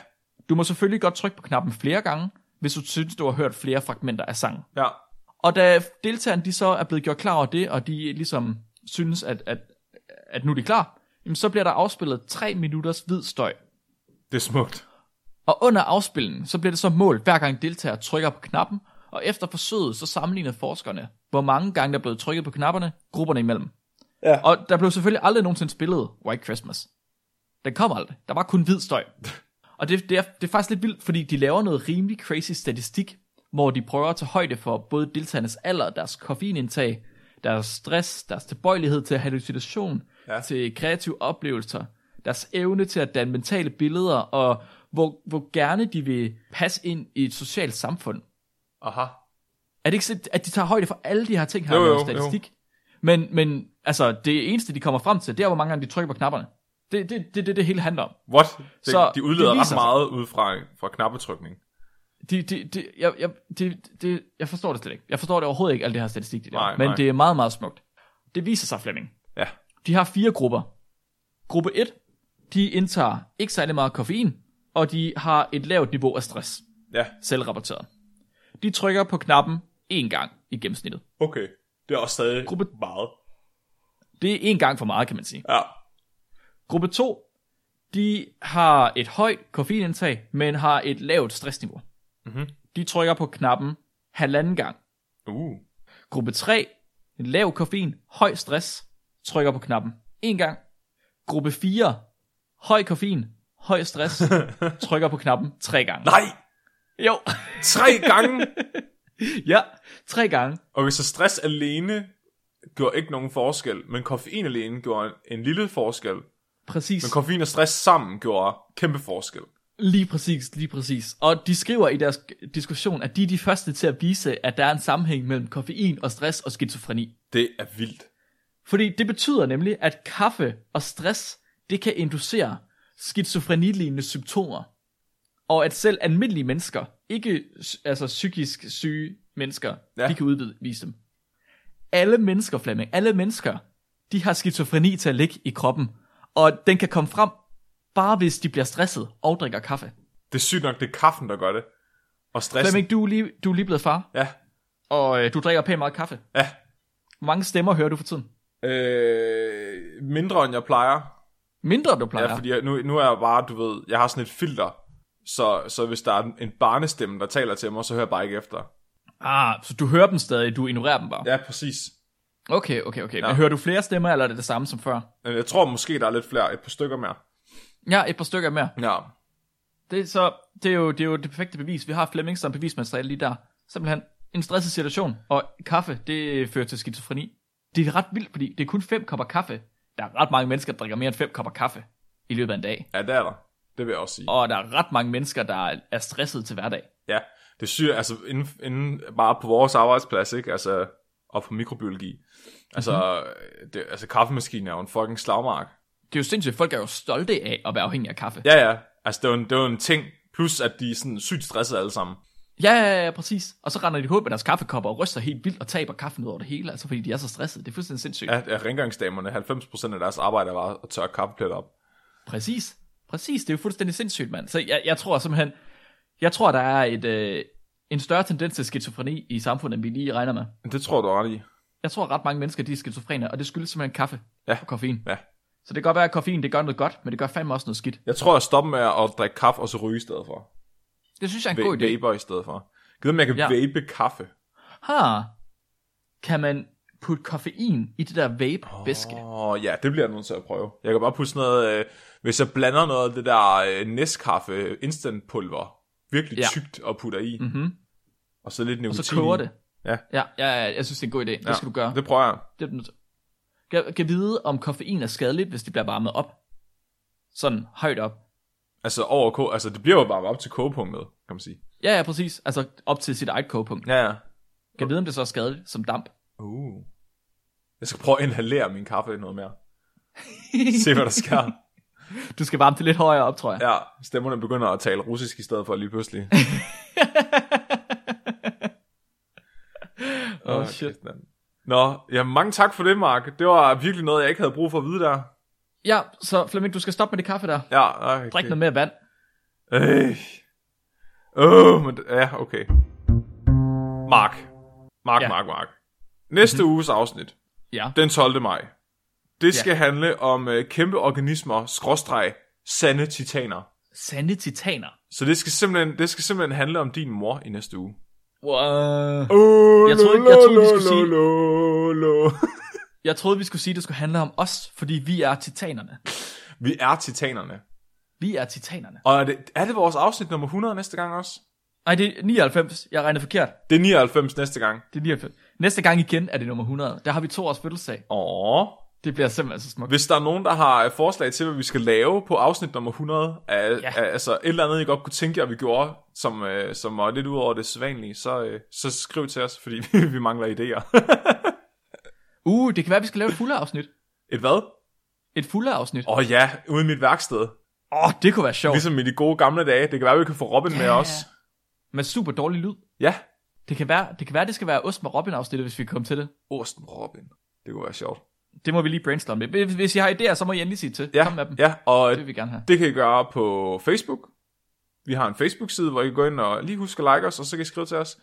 A: Du må selvfølgelig godt trykke på knappen flere gange, hvis du synes, du har hørt flere fragmenter af sangen.
B: Ja.
A: Og da deltagerne de så er blevet gjort klar over det, og de ligesom synes, at, at, at nu er de klar, jamen så bliver der afspillet 3 minutters hvid støj.
B: Det er smukt.
A: Og under afspilningen, så bliver det så målt, hver gang deltager trykker på knappen, og efter forsøget, så sammenlignede forskerne, hvor mange gange der blev trykket på knapperne, grupperne imellem.
B: Ja.
A: Og der blev selvfølgelig aldrig nogensinde spillet White Christmas. Den kom aldrig. Der var kun hvid støj. Og det, det, er, det er faktisk lidt vildt, fordi de laver noget rimelig crazy statistik, hvor de prøver at tage højde for både deltagernes alder, deres koffeinindtag, deres stress, deres tilbøjelighed til hallucination,
B: Ja.
A: ja. til kreative oplevelser, deres evne til at danne mentale billeder, og hvor, hvor gerne de vil passe ind i et socialt samfund.
B: Aha.
A: Er det ikke så, at de tager højde for alle de her ting her
B: Jo,
A: jo,
B: jo,
A: jo, statistik? Jo. Men, men altså, det eneste, de kommer frem til, det er, hvor mange gange de trykker på knapperne. Det er det, det, det, det hele handler om.
B: What? Det,
A: Så
B: de udleder
A: det
B: ret
A: viser
B: meget ud fra, fra knappetrykning.
A: De, de, de, jeg, jeg, de, de, jeg forstår det slet ikke. Jeg forstår det overhovedet ikke, alt det her statistik. Det der.
B: Nej,
A: Men
B: nej.
A: det er meget, meget smukt. Det viser sig, Flemming.
B: Ja.
A: De har fire grupper. Gruppe 1, de indtager ikke særlig meget koffein, og de har et lavt niveau af stress,
B: Ja.
A: selvrapporteret. De trykker på knappen én gang i gennemsnittet.
B: Okay. Det er også stadig
A: Gruppe-
B: meget.
A: Det er én gang for meget, kan man sige.
B: Ja.
A: Gruppe 2, de har et højt koffeinindtag, men har et lavt stressniveau.
B: Mhm.
A: De trykker på knappen halvanden gang.
B: Uh.
A: Gruppe 3, lav koffein, høj stress, trykker på knappen en gang. Gruppe 4, høj koffein, høj stress, trykker på knappen tre gange.
B: Nej!
A: Jo,
B: Tre gange!
A: ja, tre gange.
B: okay, så stress alene gjorde ikke nogen forskel, men koffein alene gjorde en, en lille forskel.
A: Præcis.
B: Men koffein og stress sammen gjorde kæmpe forskel.
A: Lige præcis, lige præcis. Og de skriver i deres diskussion, at de er de første til at vise, at der er en sammenhæng mellem koffein og stress og skizofreni.
B: Det er vildt.
A: Fordi det betyder nemlig, at kaffe og stress, det kan inducere skizofrenilignende symptomer. Og at selv almindelige mennesker, ikke s- altså psykisk syge mennesker,
B: Ja.
A: ja. de kan udvise dem. Alle mennesker, Flemming, alle mennesker, de har skizofreni til at ligge i kroppen. Og den kan komme frem, bare hvis de bliver stresset og drikker kaffe.
B: Det er sygt nok, det er kaffen, der gør det. Og stressen.
A: Flemming, du er lige, du er lige blevet far,
B: Ja,
A: og øh, du drikker pænt meget kaffe.
B: ja.
A: Hvor mange stemmer hører du for tiden?
B: Øh, mindre end jeg plejer.
A: Mindre, end du plejer.
B: Ja, fordi jeg, nu, nu er jeg bare, du ved, jeg har sådan et filter, så, så hvis der er en barnestemme, der taler til mig, så hører jeg bare ikke efter.
A: Ah, så du hører dem stadig, du ignorerer dem bare.
B: Ja, præcis.
A: Okay, okay, okay.
B: Ja.
A: Men hører du flere stemmer, eller er det det samme som før?
B: Men Jeg tror måske, der er lidt flere, et par stykker mere.
A: Ja, et par stykker mere.
B: Ja.
A: Det, er så, det, er jo, det er jo det perfekte bevis. Vi har Flemming som bevismateriale lige der. Simpelthen en stresset situation, og kaffe, det fører til skizofreni. Det er ret vildt, fordi det er kun fem kopper kaffe. Der er ret mange mennesker, der drikker mere end fem kopper kaffe. i løbet af en dag.
B: Ja, det er der. Det vil jeg også sige.
A: Og der er ret mange mennesker, der er stresset til hverdag.
B: Ja, det syr, altså inden, inden, bare på vores arbejdsplads, ikke? Altså, og på mikrobiologi. Altså, mm-hmm. det, altså kaffemaskinen er jo en fucking slagmark.
A: Det er jo sindssygt, folk er jo stolte af at være afhængige af kaffe.
B: Ja, ja. Altså, det er jo en, det er jo en ting. Plus, at de er sådan sygt stressede alle sammen.
A: Ja, ja, ja, præcis. Og så render de hovedet med deres kaffekopper og ryster helt vildt og taber kaffen ud over det hele, altså fordi de er så stressede. Det er fuldstændig sindssygt. Ja.
B: At, at rengøringsdamerne, 90% af deres arbejde er bare at tørre kaffepletter op.
A: Præcis. Præcis, det er jo fuldstændig sindssygt, mand. Så jeg, jeg tror simpelthen, jeg tror, der er et, øh, en større tendens til skizofreni i samfundet, end vi lige regner med.
B: Men Det tror du ret i.
A: Jeg tror, ret mange mennesker, de er skizofrene, og det skyldes simpelthen kaffe
B: Ja.
A: og koffein.
B: Ja.
A: Så det kan godt være, at koffein, det gør noget godt, men det gør fandme også noget skidt.
B: Jeg tror, jeg stopper med at drikke kaffe og så ryge i stedet for.
A: Det synes jeg er en god idé.
B: Va- vaper i stedet for. Gider om jeg kan
A: Ja.
B: ja. vape kaffe.
A: Ha, kan man putte koffein i det der vape-væske? Oh.
B: Åh, oh, ja, det bliver jeg nødt til at prøve. Jeg kan bare putte sådan noget, øh, hvis jeg blander noget af det der øh, næstkaffe instant pulver, virkelig
A: Ja. Mm.
B: ja. tykt og putter i. Mm-hmm. Og så lidt
A: Og
B: nikotin.
A: så koger
B: i.
A: det.
B: Ja.
A: Ja, ja, ja, jeg synes, det er en god idé. Det
B: Ja,
A: skal du gøre.
B: Det prøver jeg.
A: Det er du nødt til. Kan, kan vide, om koffein er skadeligt, hvis det bliver varmet op. Sådan højt op.
B: Altså over ko, altså det bliver jo bare op til kogepunktet, kan man sige.
A: Ja, ja, præcis. Altså op til sit eget kogepunkt.
B: Ja, ja.
A: Kan vide, om det så er skadeligt som damp.
B: Uh. Jeg skal prøve at inhalere min kaffe noget mere. Se hvad der sker.
A: Du skal varme det lidt højere op, tror jeg.
B: Ja, stemmerne begynder at tale russisk i stedet for lige pludselig.
A: Åh,
B: Åh,
A: Oh, shit.
B: kæft, mand. Nå, ja, mange tak for det, Mark. Det var virkelig noget, jeg ikke havde brug for at vide der.
A: Ja, så Flemming, du skal stoppe med det kaffe der.
B: Ja, okay.
A: Drik noget mere vand.
B: Øh. Øh, men, ja, okay. Mark. Mark,
A: Ja. Mhm.
B: ja. Mark, Mark. Næste mm-hmm. uges afsnit,
A: Ja.
B: den 12. maj, det skal handle om øh, kæmpe organismer, skråstreg, sande titaner.
A: Sande titaner.
B: Så det skal, simpelthen, det skal simpelthen handle om din mor i næste uge.
A: Wow.
B: Oh,
A: Jeg troede ikke- jeg troede, vi skulle sige-
B: lo, lo, lo.
A: Jeg troede, vi skulle sige, at det skulle handle om os, fordi vi er titanerne.
B: Vi er titanerne.
A: Vi er titanerne.
B: Og er det, er det vores afsnit nummer 100 næste gang også?
A: Nej, det er 99. Jeg regnede forkert.
B: Det er 99 næste gang.
A: Det er 99. Næste gang igen er det nummer 100. Der har vi to års fødselsdag.
B: Åh.
A: Det bliver simpelthen så smukt.
B: Hvis der er nogen, der har øh, forslag til, hvad vi skal lave på afsnit nummer 100, af,
A: Ja.
B: ja. af, altså et eller andet, I godt kunne tænke jer, vi gjorde, som, øh, som var lidt ud over det sædvanlige, så, øh, så skriv til os, fordi vi, vi mangler idéer.
A: Uh, det kan være, at vi skal lave et fulde afsnit.
B: Et hvad?
A: Et fulde afsnit. Åh,
B: Åh oh, ja, ude i mit værksted.
A: oh. oh, det kunne være sjovt.
B: Ligesom i de gode gamle dage. Det kan være, vi kan få Robin med
A: Ja.
B: os.
A: Med super dårlig lyd.
B: Ja.
A: Det kan være, det, kan være, det skal være Ost med Robin afsnittet, hvis vi kommer til det.
B: Osten Robin. Det kunne være sjovt.
A: Det må vi lige brainstorme med. Hvis, hvis I har idéer, så må I endelig sige til.
B: Ja,
A: Kom med dem.
B: ja og
A: Det vil vi gerne have.
B: Det kan I gøre på Facebook. Vi har en Facebook-side, hvor I kan gå ind og lige huske at like os, og så kan I skrive til os.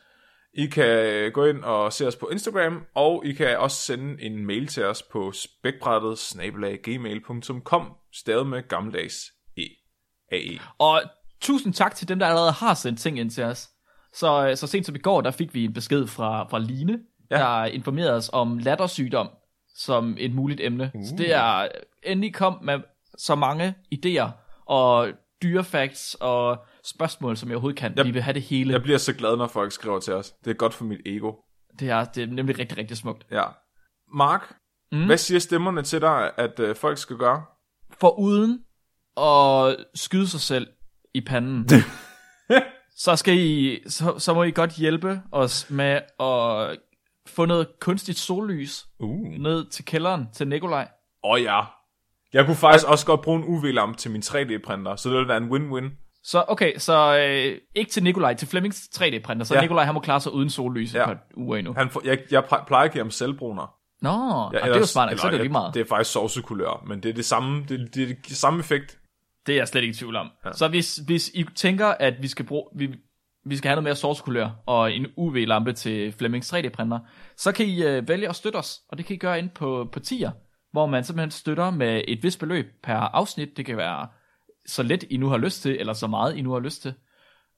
B: I kan gå ind og se os på Instagram, og I kan også sende en mail til os på spækbrættet gmail.com, stadig med gammeldags e. AE.
A: Og tusind tak til dem, der allerede har sendt ting ind til os. Så, så sent som i går, der fik vi en besked fra, fra Line, ja.
B: Ja.
A: der informerede os om lattersygdom som et muligt emne. Uh. Så det er endelig kom med så mange idéer og dyrefacts og spørgsmål, som jeg overhovedet kan. Yep. Vi vil have det hele.
B: Jeg
A: Yep.
B: bliver så glad, når folk skriver til os. Det er godt for mit ego.
A: Det, er, det er nemlig rigtig, rigtig smukt.
B: Ja. Mark, mm. hvad siger stemmerne til dig, at øh, folk skal gøre?
A: For uden at skyde sig selv i panden, så, skal I, så, så må I godt hjælpe os med at få noget kunstigt sollys
B: Uh.
A: ned til kælderen til Nikolaj.
B: Åh oh, ja. Jeg kunne faktisk også godt bruge en UV-lampe til min 3D-printer, så det ville være en win-win.
A: Så okay, så øh, ikke til Nikolaj, til Flemmings 3D-printer, så ja.
B: Ja.
A: Nikolaj han må klare sig uden sollys ja.
B: Ja.
A: på et uger endnu.
B: Han får, jeg, jeg plejer at give ham selvbruner.
A: Nå, ja, ellers,
B: Ja,
A: Ah, det er jo smart, nok, så er det jo
B: ja,
A: lige meget.
B: Det
A: Det,
B: er faktisk sovsekulør, men det er det samme, det, det er det samme effekt.
A: det er jeg slet ikke i tvivl om. Ja. Så hvis, hvis I tænker, at vi skal bruge... Vi, vi skal have noget mere sourcekulør og en UV-lampe til Flemmings 3D-printer, så kan I øh, vælge at støtte os, og det kan I gøre ind på, på tier, hvor man simpelthen støtter med et vist beløb per afsnit. Det kan være så lidt I nu har lyst til, eller så meget I nu har lyst til.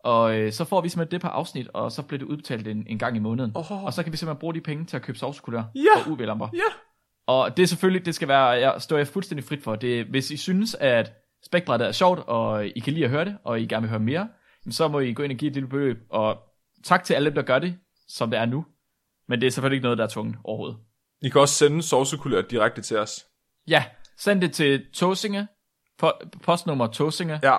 A: Og øh, så får vi simpelthen det per afsnit, og så bliver det udbetalt en, en gang i måneden.
B: Åh.
A: Og så kan vi simpelthen bruge de penge til at købe sovsekulør
B: Ja.
A: og UV-lamper.
B: Ja.
A: Og det er selvfølgelig, det skal være, jeg står jeg fuldstændig frit for. Det, hvis I synes, at spækbrættet er sjovt, og I kan lide at høre det, og I gerne vil høre mere, jamen så må I gå ind og give et lille beløb. Og tak til alle dem, der gør det, som det er nu. Men det er selvfølgelig ikke noget, der er tvunget overhovedet.
B: I kan også sende sovsekulør direkte til os.
A: Ja, send det til Tåsinge Po- postnummer Tåsinge. Ja.
B: Ja,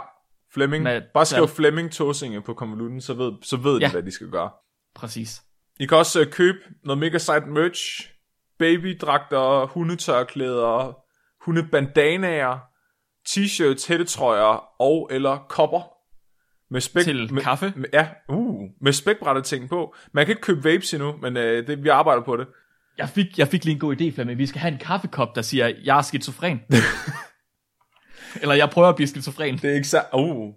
B: Flemming.
A: Med-
B: Bare skriv
A: ja.
B: Flemming Tåsinge på konvolutten, så ved, så ved
A: Ja.
B: ja. de, hvad de skal gøre.
A: Præcis.
B: I kan også øh, købe noget mega sejt merch, babydragter, hundetørklæder, hundebandanaer, t-shirts, hættetrøjer og eller kopper. Med spæk,
A: Til
B: med,
A: kaffe?
B: Med, ja, uh, med spækbrættet ting på. Man kan ikke købe vapes endnu, men øh, det, vi arbejder på det.
A: Jeg fik, jeg fik lige en god idé, Flemming. Vi skal have en kaffekop, der siger, jeg er skizofren. Eller jeg prøver at blive skizofren.
B: Det er ikke, sær- uh.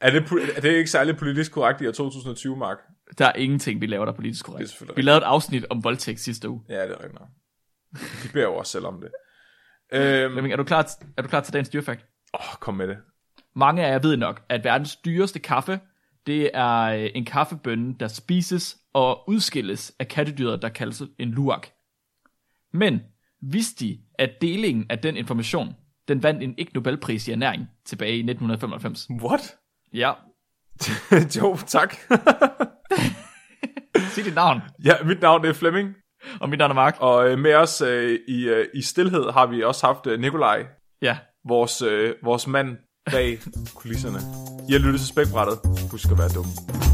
B: er det, pol- er det ikke særlig politisk korrekt i år 2020, Mark?
A: Der er ingenting, vi laver, der er politisk
B: Det er
A: korrekt.
B: selvfølgelig
A: Vi lavede et afsnit om voldtægt sidste uge.
B: Ja, det er rigtigt nok. De beder jo også selv om det. Øhm,
A: Flemming, er du klar, er du klar til dagens dyrfakt?
B: åh, kom med det.
A: Mange af jer ved nok, at verdens dyreste kaffe, det er øh, en kaffebønne, der spises og udskilles af kattedyret, der kaldes en luwak. Men vidste de, at delingen af den information, den vandt en ikke Nobelpris i ernæring tilbage i 1995?
B: What?
A: Ja,
B: jo, tak.
A: sig dit navn,
B: ja, mit navn er Flemming,
A: og mit navn er Mark.
B: og øh, med os øh, i, øh, i stillhed har vi også haft øh, Nikolaj,
A: Ja,
B: vores, øh, vores mand bag kulisserne. I har lyttet til spækbrættet. Husk at være dumme.